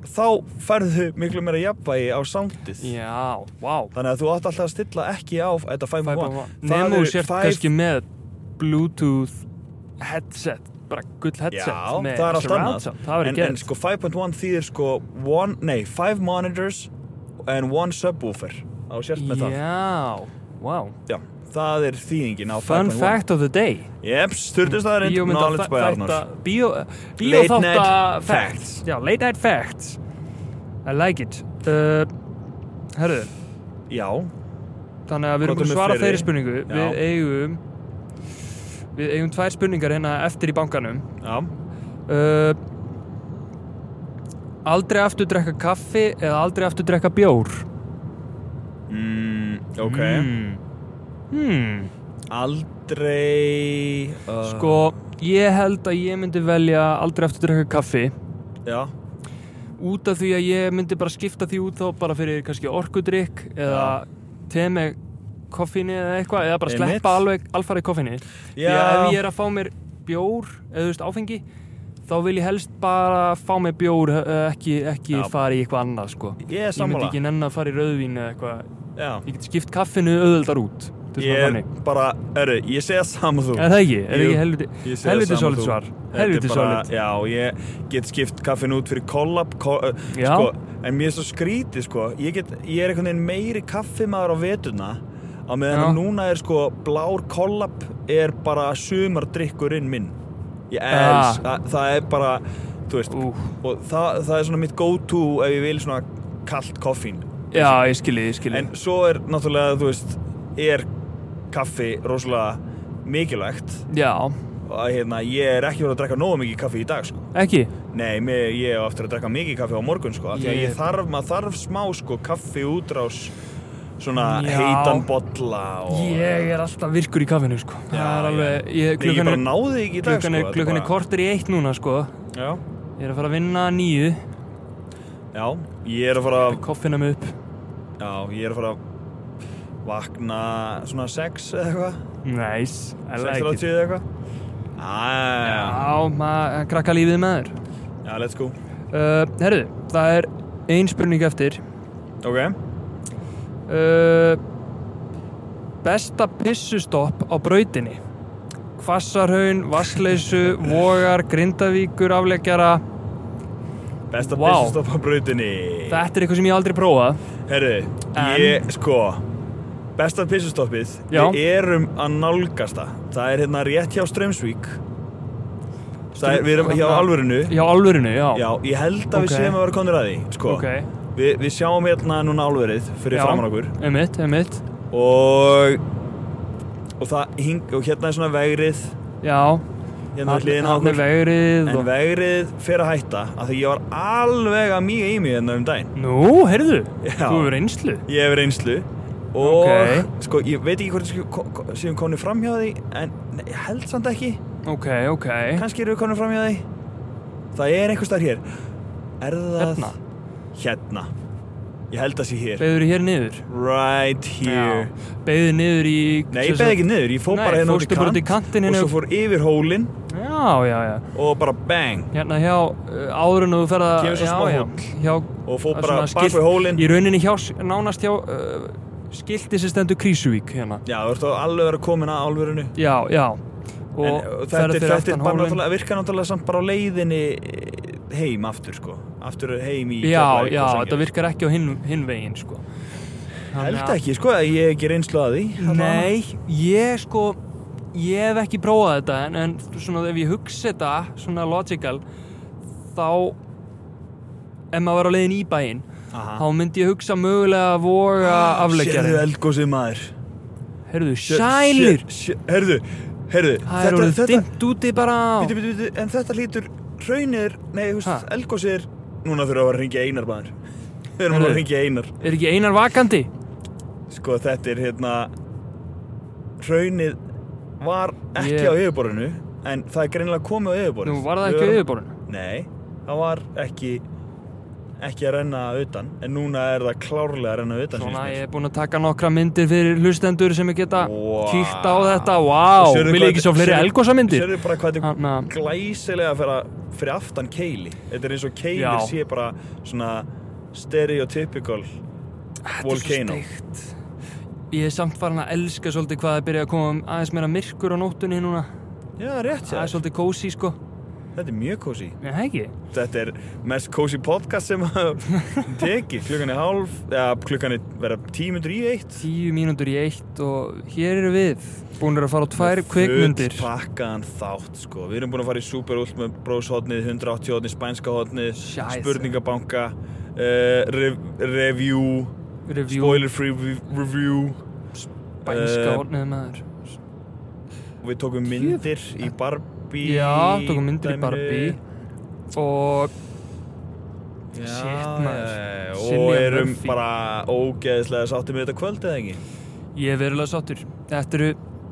A: þá færðu miklu meira jafnvægi á soundið
B: já, wow
A: þannig að þú átt alltaf að stilla ekki á þetta 5.1
B: nefnum þú sért kannski með bluetooth headset bara gull
A: Já,
B: headset með
A: það er allt
B: surround
A: annað
B: sound. það verður
A: en, en
B: gett
A: sko 5.1 þýðir sko one, nei, 5 monitors and 1 subwoofer á sért með
B: já, wow
A: það Já, það er þýðingin á 5.1
B: fun fact of the day
A: Jeps, styrtistæðarind, knowledge by Arnur Late
B: Bíóþátta
A: night
B: facts
A: facts.
B: Já, late night facts I like it uh, Herðu,
A: Já,
B: þannig að við erum
A: Hvað er
B: búin að
A: með
B: svara
A: fleiri?
B: þeirri spurningu Við
A: Já.
B: eigum Við eigum tvær spurningar hérna eftir í bankanum
A: já,
B: uh, Aldrei aftur drekka kaffi eða aldrei aftur drekka bjór
A: mm, ok
B: Hmm, hmm.
A: Aldrei uh,
B: Sko, ég held að ég myndi velja aldrei aftur drekka kaffi
A: Já,
B: út af því að ég myndi bara skipta því út þá bara fyrir kannski orkudrykk eða te með koffinni eða eitthvað, eða bara
A: Einmitt.
B: sleppa alveg alfarið koffinni. Því
A: Já.
B: að ef ég er að fá mér bjór, eða þú veist áfengi þá vil ég helst bara fá mér bjór eh, ekki, ekki
A: Já.
B: fara í eitthvað annað sko.
A: ég er
B: Ég myndi
A: sammála
B: ekki nenn að fara í rauðvín eða eitthvað.
A: Já
B: Ég get skipt kaffinu auðvöldar út. Þetta er svona
A: Ég
B: þannig.
A: bara, herru, ég segja saman þú
B: Er það ekki? Er
A: Jú,
B: ekki helviti,
A: ég segi
B: helviti
A: sama
B: solid
A: þú.
B: svar?
A: Þetta er
B: Helviti
A: bara-
B: solid.
A: Já, ég get skipt kaffin út fyrir kollab ko uh,
B: Já.
A: sko, En mér er svo skrítið sko Ég, get, ég er einhvern veginn meiri kaffimaður á vetuna Á meðan
B: Já.
A: að núna er sko Blár kollab er bara Sumardrykkurinn minn Ég els, það, það er bara Þú veist,
B: Úff.
A: og það, það er svona mitt go to Ef ég vil svona kalt koffín
B: Já, ég skilji, ég skilji.
A: En svo er náttúrulega, þú veist Er kaffi rosalega mikilvægt
B: Já,
A: að hérna, ég er ekki verið að drekka nógu mikið kaffi í dag sko.
B: ekki?
A: Nei, mér, ég hef aftur að drekka mikið kaffi á morgun sko. af Því að
B: Ég-
A: ég þarf, maður þarf smá sko, kaffi útrás svona
B: Já.
A: heitan bolla og...
B: Ég er alltaf virkur í kaffinu sko
A: Já,
B: Það er alveg,
A: Nei,
B: ég,
A: ég
B: klukkan,
A: bara
B: er,
A: náði ekki í dag
B: klukkan, er,
A: sko.
B: klukkan er kortur í eitt núna sko
A: Já.
B: Ég er að fara að vinna að nýju
A: Já, ég er að fara að,
B: Koffina mig upp
A: já, ég er að fara að vakna svona 6 eða eitthvað
B: Nice, I like it
A: 6.30 eða eitthvað Æja,
B: Já, maður krakka lífið með þér
A: já, let's go
B: uh, Herðu, það er ein spurning eftir
A: Ok,
B: uh, Besta pissustopp á brautinni Hvassarhaun, Vassleysu, Vogar, Grindavíkur, afleggjara
A: besta
B: Vá.
A: wow. pissustopp á brautinni
B: Þetta er eitthvað sem ég aldrei prófað
A: Herru,
B: En-
A: ég, sko Besta pissustoppið
B: Já.
A: Við erum að nálgast það Það er hérna rétt hjá Strömsvík Það er, við erum hjá alvörinu
B: Hérna. Já, alvörinu, já,
A: Já, ég held að
B: Ok.
A: við séum að vera konur að því Sko,
B: Ok,
A: við, við sjáum hérna núna álverið Fyrir
B: Já.
A: framan okkur
B: einmitt, einmitt
A: Og Og það hing, og hérna er svona vegrið
B: Já,
A: Hérna er hliðin á
B: allir
A: okkur
B: vegrið
A: En
B: og...
A: vegrið fer að hætta Af því ég var alveg að mýga í mig hérna um daginn
B: Nú, heyrðu,
A: Já.
B: þú hefur einslu
A: Ég hef reynslu og
B: Ok.
A: sko, ég veit ekki hvort við sko- ko- ko- séum konir fram hjá því en nei, ég held samt ekki
B: Ok, ok
A: kannski eru við konir fram hjá því það er einhver starf hér er það
B: Hérna,
A: Hérna. ég held að sé hér
B: beigður hér niður
A: right here
B: Beigður niður í
A: nei, ég beði ekki niður, ég fór
B: Nei,
A: bara hérna
B: fórstu bara út í kantinn
A: og
B: hérna-
A: svo fór yfir hólinn
B: Já, já, já
A: og bara bang
B: Hérna hjá uh, áður en þú ferða
A: Kemur svo
B: já,
A: smá
B: já,
A: hóll.
B: hjá,
A: og fór
B: að
A: bara
B: svona
A: bak við hólinn
B: Í rauninni hjá, s- nánast hjá uh, skilti sem stendur Krísuvík hérna
A: já, þú ert á alveg að vera komin að álverinu
B: Já, já
A: En
B: Og
A: þetta
B: ferða
A: er,
B: fyrir
A: uh, þetta er
B: aftan
A: bara
B: hólinn
A: náttúrulega, virka náttúrulega samt bara á leiðinni eh, heim aftur sko aftur heim í
B: já,
A: Keflavík
B: já,
A: og
B: þetta
A: Sandgerði.
B: virkar ekki á hinn, hinn veginn sko Þannig
A: held
B: að-
A: ekki sko, ég hef ekki reynslu að því allavega.
B: Nei, ég sko ég hef ekki prófað þetta en, en svona ef ég hugsa þetta svona logical þá ef maður var á leiðin í bæinn
A: Aha.
B: þá myndi ég hugsa mögulega að voga
A: Ah,
B: afleggjarinn
A: Sérðu eldgósið maður
B: Herðu, sænir
A: Herðu, herðu
B: Það er orðið dimmt úti bara á
A: Bítu, bítu, bítu, en þetta lítur hraunir, nei, þú veist,
B: Ha?
A: eldgósir Núna þurfum við að ringja einar maður Við erum alveg að
B: Herðu.
A: ringja einar
B: Er ekki einar vakandi?
A: Sko, þetta er hérna Hraunið var ekki
B: Ég-
A: á yfirborðinu En það er greinilega komið á yfirborðinu
B: Nú var það ekki á yfirborðinu
A: Nei, það var ekki ekki að renna utan En núna er það klárlega að renna utan
B: Svona
A: finnst mér.
B: ég er búinn að taka nokkra myndir fyrir hlustendur sem ég geta
A: Vá.
B: kíkt á þetta Vá,
A: Sérðu
B: vil
A: hvað
B: ég ekki
A: þetta-
B: svo fleiri
A: sérðu-
B: elgosa myndir?
A: Sérðu bara hvað þetta
B: Hanna,
A: er glæsilega fyrir, fyrir aftan keili Þetta er eins og keili
B: Já.
A: sé bara svona stereotypical volcano
B: steikt Ég er samt farin að elska svolítið hvað það byrja að koma um aðeins meira myrkur á nóttunni núna
A: Já, rétt
B: Það er
A: sér
B: svolítið kósi sko
A: Þetta er mjög kósi
B: Nei, það ekki
A: Þetta er mest kósi podcast sem að teki Klukkan er hálf, eða klukkan er vera tímundur í eitt
B: Tíu mínútur í eitt og hér eru við Búinir að fara á tvær kvikmyndir
A: Pakkaðan þátt sko Við erum búin að fara í superúlt með bróshotnið 180 hotnið, spænska hotnið
B: Scheisse.
A: Spurningabanka uh, rev, Review
B: Review,
A: Spoiler free review
B: bænska
A: eh,
B: ornið maður
A: Við tókum myndir í Barbie
B: Já, tókum myndir í
A: dæminu.
B: Barbie Og
A: Já,
B: Shit, maður.
A: já, já, Og
B: Cillian
A: erum
B: Murphy.
A: bara ógeðslega sáttið með þetta kvöld eða ekki
B: ég er verulega sáttur Þetta eru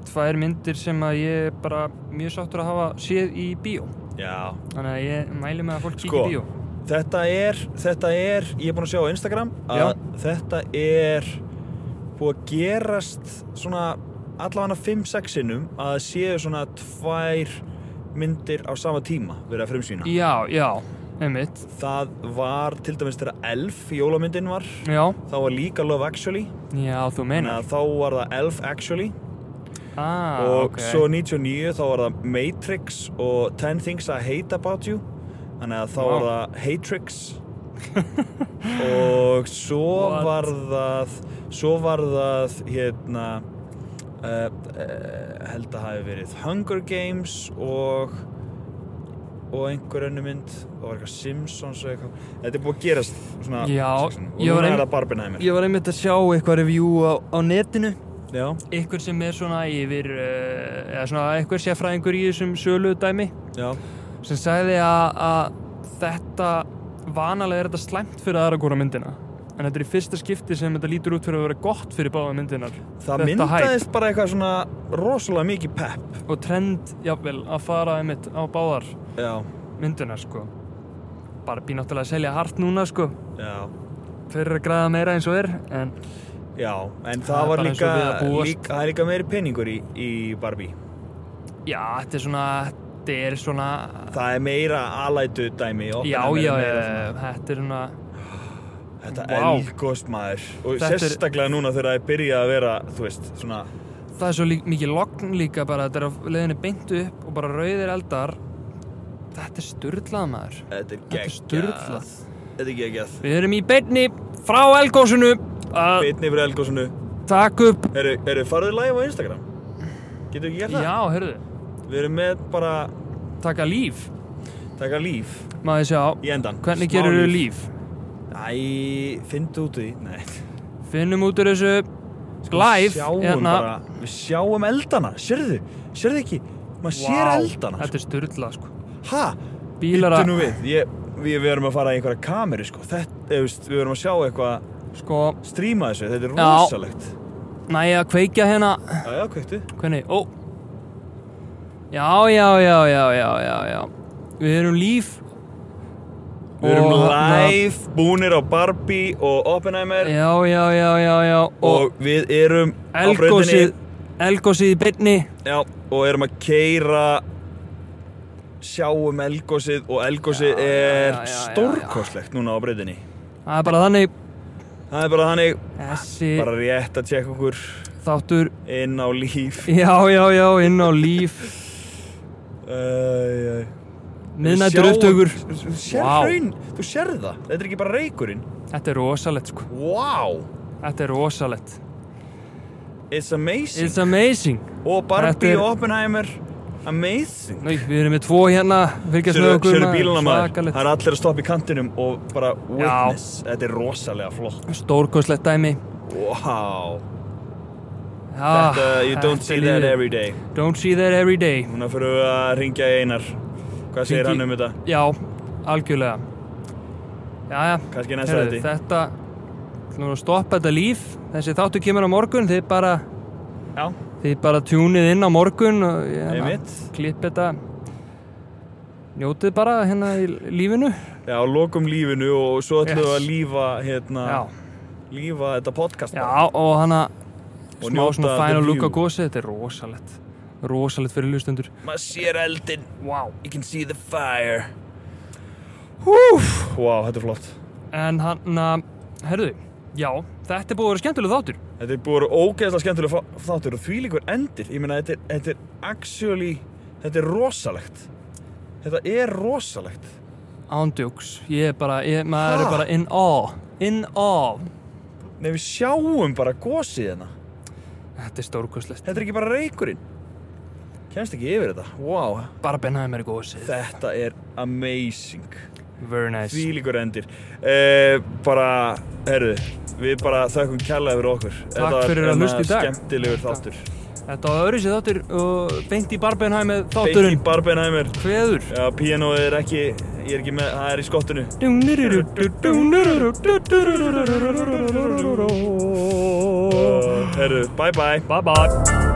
B: tvær myndir sem að ég er bara mjög sáttur að hafa séð í bíó
A: Já,
B: Þannig að ég mæli með að fólk kíkja
A: Sko.
B: í bíó
A: þetta er, þetta er Ég er búin að sjá á Instagram að
B: Já.
A: þetta er búið að gerast svona allavega 5-6 sinnum að það séu svona tvær myndir á sama tíma verið að frumsýna
B: Já, já, einmitt
A: Það var til dæmis þegar Elf jólamyndin var
B: Já,
A: þá var líka Love Actually
B: já, þú
A: þannig
B: meinar
A: að þá var það Elf Actually
B: ah,
A: og
B: ok.
A: svo 99 þá var það Matrix og 10 Things I Hate About You þannig að þá
B: Vá.
A: var það Hatrix og svo
B: What?
A: var það svo var það hérna uh, uh, held að hafi verið Hunger Games og og einhver önnu mynd það var eitthvað Simpsons og eitthvað þetta er búið að gerast svona
B: Já,
A: og
B: ég
A: núna
B: var ein-
A: er það Barbenheimer
B: Ég var einmitt að sjá eitthvað review á, á netinu
A: já,
B: Eitthvað sem er svona yfir uh, eða svona eitthvað sérfræðingur í þessum sölu dæmi
A: já
B: sem sagði að, að þetta vanalega er þetta slæmt fyrir aðra hvora myndina en þetta er í fyrsta skipti sem þetta lítur út fyrir að vera gott fyrir báða myndinar
A: Það
B: Þetta
A: myndaðist bara eitthvað svona rosalega mikið pepp.
B: hæp og trend, jafnvel, að fara einmitt á báðar
A: Já,
B: myndinar sko bara býr náttúrulega að selja hart núna sko
A: já,
B: fyrir að græða meira eins og er en
A: já. En það,
B: Það er
A: var
B: bara eins
A: líka,
B: og við að búast.
A: líka, það er líka meiri peningur í, í Barbie.
B: já, þetta er svona þetta er svona
A: Það er meira alætu dæmi.
B: já,
A: Oppenheimer er
B: já,
A: meira
B: já,
A: svona-
B: þetta er svona
A: Þetta
B: Vá.
A: er elgóst maður. Og
B: Þetta er-
A: sérstaklega núna þegar það er byrjað að vera, þú veist, svona,
B: það er svo lík, mikið logn líka bara þetta er að leiðinni beint upp og bara rauðir eldar þetta er styrlað maður
A: þetta er
B: Þetta er
A: geggjað.
B: sturlað.
A: Þetta er geggjað.
B: Við erum í beinni frá Elgósunu að
A: Bitni fyrir elgósunu.
B: taka upp
A: Eru, eru farðu live á Instagram? Getur ekki gert það?
B: Já, hörðu,
A: Við erum með bara,
B: taka líf
A: taka líf
B: Maður sjá,
A: í endan.
B: hvernig
A: Smá
B: gerur þau líf?
A: Æ, finndu út úr því. Nei.
B: Finnum út úr þessu
A: Við
B: Sko, live hérna.
A: sjáum bara, við sjáum eldana sérðu, sérðu ekki maður sér
B: Vá,
A: eldana
B: Þetta er styrla sko
A: ha,
B: Bílar að-
A: bíddu nú við ég, við, við erum að fara í einhverja kameru sko. þetta, eh, veist, við erum að sjá eitthvað
B: Sko,
A: stríma þessu, þetta er
B: Já.
A: rosalegt
B: næja að kveikja hérna
A: já, já, kveiktu
B: Hvernig, ó Já, já, já, já, já, já, já Við erum líf
A: við erum
B: Og þarna-
A: live, búnir á Barbie og Oppenheimer
B: Já, já, já, já, já Og,
A: og við erum á
B: Elgósið Elgósið í beinni
A: brautinni já, og erum að keira sjáum elgósið og elgósið
B: Já, já,
A: er
B: já, já, já, já.
A: stórkoslegt núna á breytinni
B: Það er bara þannig
A: það er bara þannig
B: Þessi
A: bara rétt að tjekka okkur
B: þáttur
A: inn á líf
B: Já, já, já, inn á líf
A: Æ, æ.
B: miðnættur upptökur
A: Þú sér
B: Vá.
A: hraun, þú sér það Þetta er ekki bara reykurinn
B: Þetta er rosalegt sko
A: Wow,
B: Þetta er rosalegt
A: it's amazing
B: It's amazing
A: Og Barbie
B: Þetta er-
A: og Oppenheimer Amazing
B: Nú, Við erum með tvo hérna Fylgjast með
A: Sérðu
B: okkur
A: sérðu bílana maður, það
B: Svakalegt
A: er allir að stoppa í kantinum og bara witness, þetta er rosalega flott
B: Stórkoslegt dæmi
A: Wow,
B: ah,
A: þetta, you don't see that
B: lífið.
A: every day
B: Don't see that every day
A: Núna fyrir við að ringja í Einar Hvað segir hann
B: Hringi-
A: um þetta?
B: Já, algjörlega Jæja
A: Kannski í næsta
B: Heyrðu,
A: þetta
B: Þetta Nú að stoppa þetta líf Þessi þáttu kemur á morgun Þið bara
A: Já,
B: Þið bara tjúnið inn á morgun og ég-
A: einmitt
B: Klipp þetta Njótið bara hérna í lífinu
A: Já, lokum lífinu og svo ætlum við
B: Yes.
A: að lífa hérna,
B: Já,
A: lífa þetta podcast
B: já
A: bara.
B: og hana
A: Og
B: Smá
A: njóta
B: svona
A: the
B: final
A: view.
B: look á gósi Þetta er rosalegt Rosalegt fyrir hlustendur
A: Maður sér eldin,
B: Wow
A: you can see the fire Húf, wow, þetta er flott
B: En hann að Herðu Já, þetta er búið að vera skemmtileg þáttur
A: Þetta er búið að vera ógeðslega skemmtileg fá- þáttur og þvílíkur endir. Ég meina, þetta er, þetta er actually, þetta er rosalegt. Þetta er rosalegt.
B: Ándjóks Ég er bara ég, Maður
A: Ha?
B: er bara in awe In awe
A: Nei, við sjáum bara gósið hérna.
B: Þetta er stórkoslegt
A: Þetta er ekki bara reykurinn. Kennst ekki yfir þetta. Wow,
B: Bara bennaði mér gósið
A: þetta er amazing.
B: Very nice
A: Þvílíkur endir. Uh, bara, herðu, við bara þökkum kjallaði fyrir okkur. Þetta var
B: fyrir að
A: hérna
B: hlusta í dag.
A: Skemmtilegur þáttur.
B: Þetta var öðru sér þáttur og beint í barbenhæmi með
A: Beitt í
B: þátturinn
A: barbenhæmir.
B: Hveður
A: Já, píanóið er ekki, ég er ekki með, það er í skottinu.
B: Bye
A: Uh, herðu, bye bye.
B: bye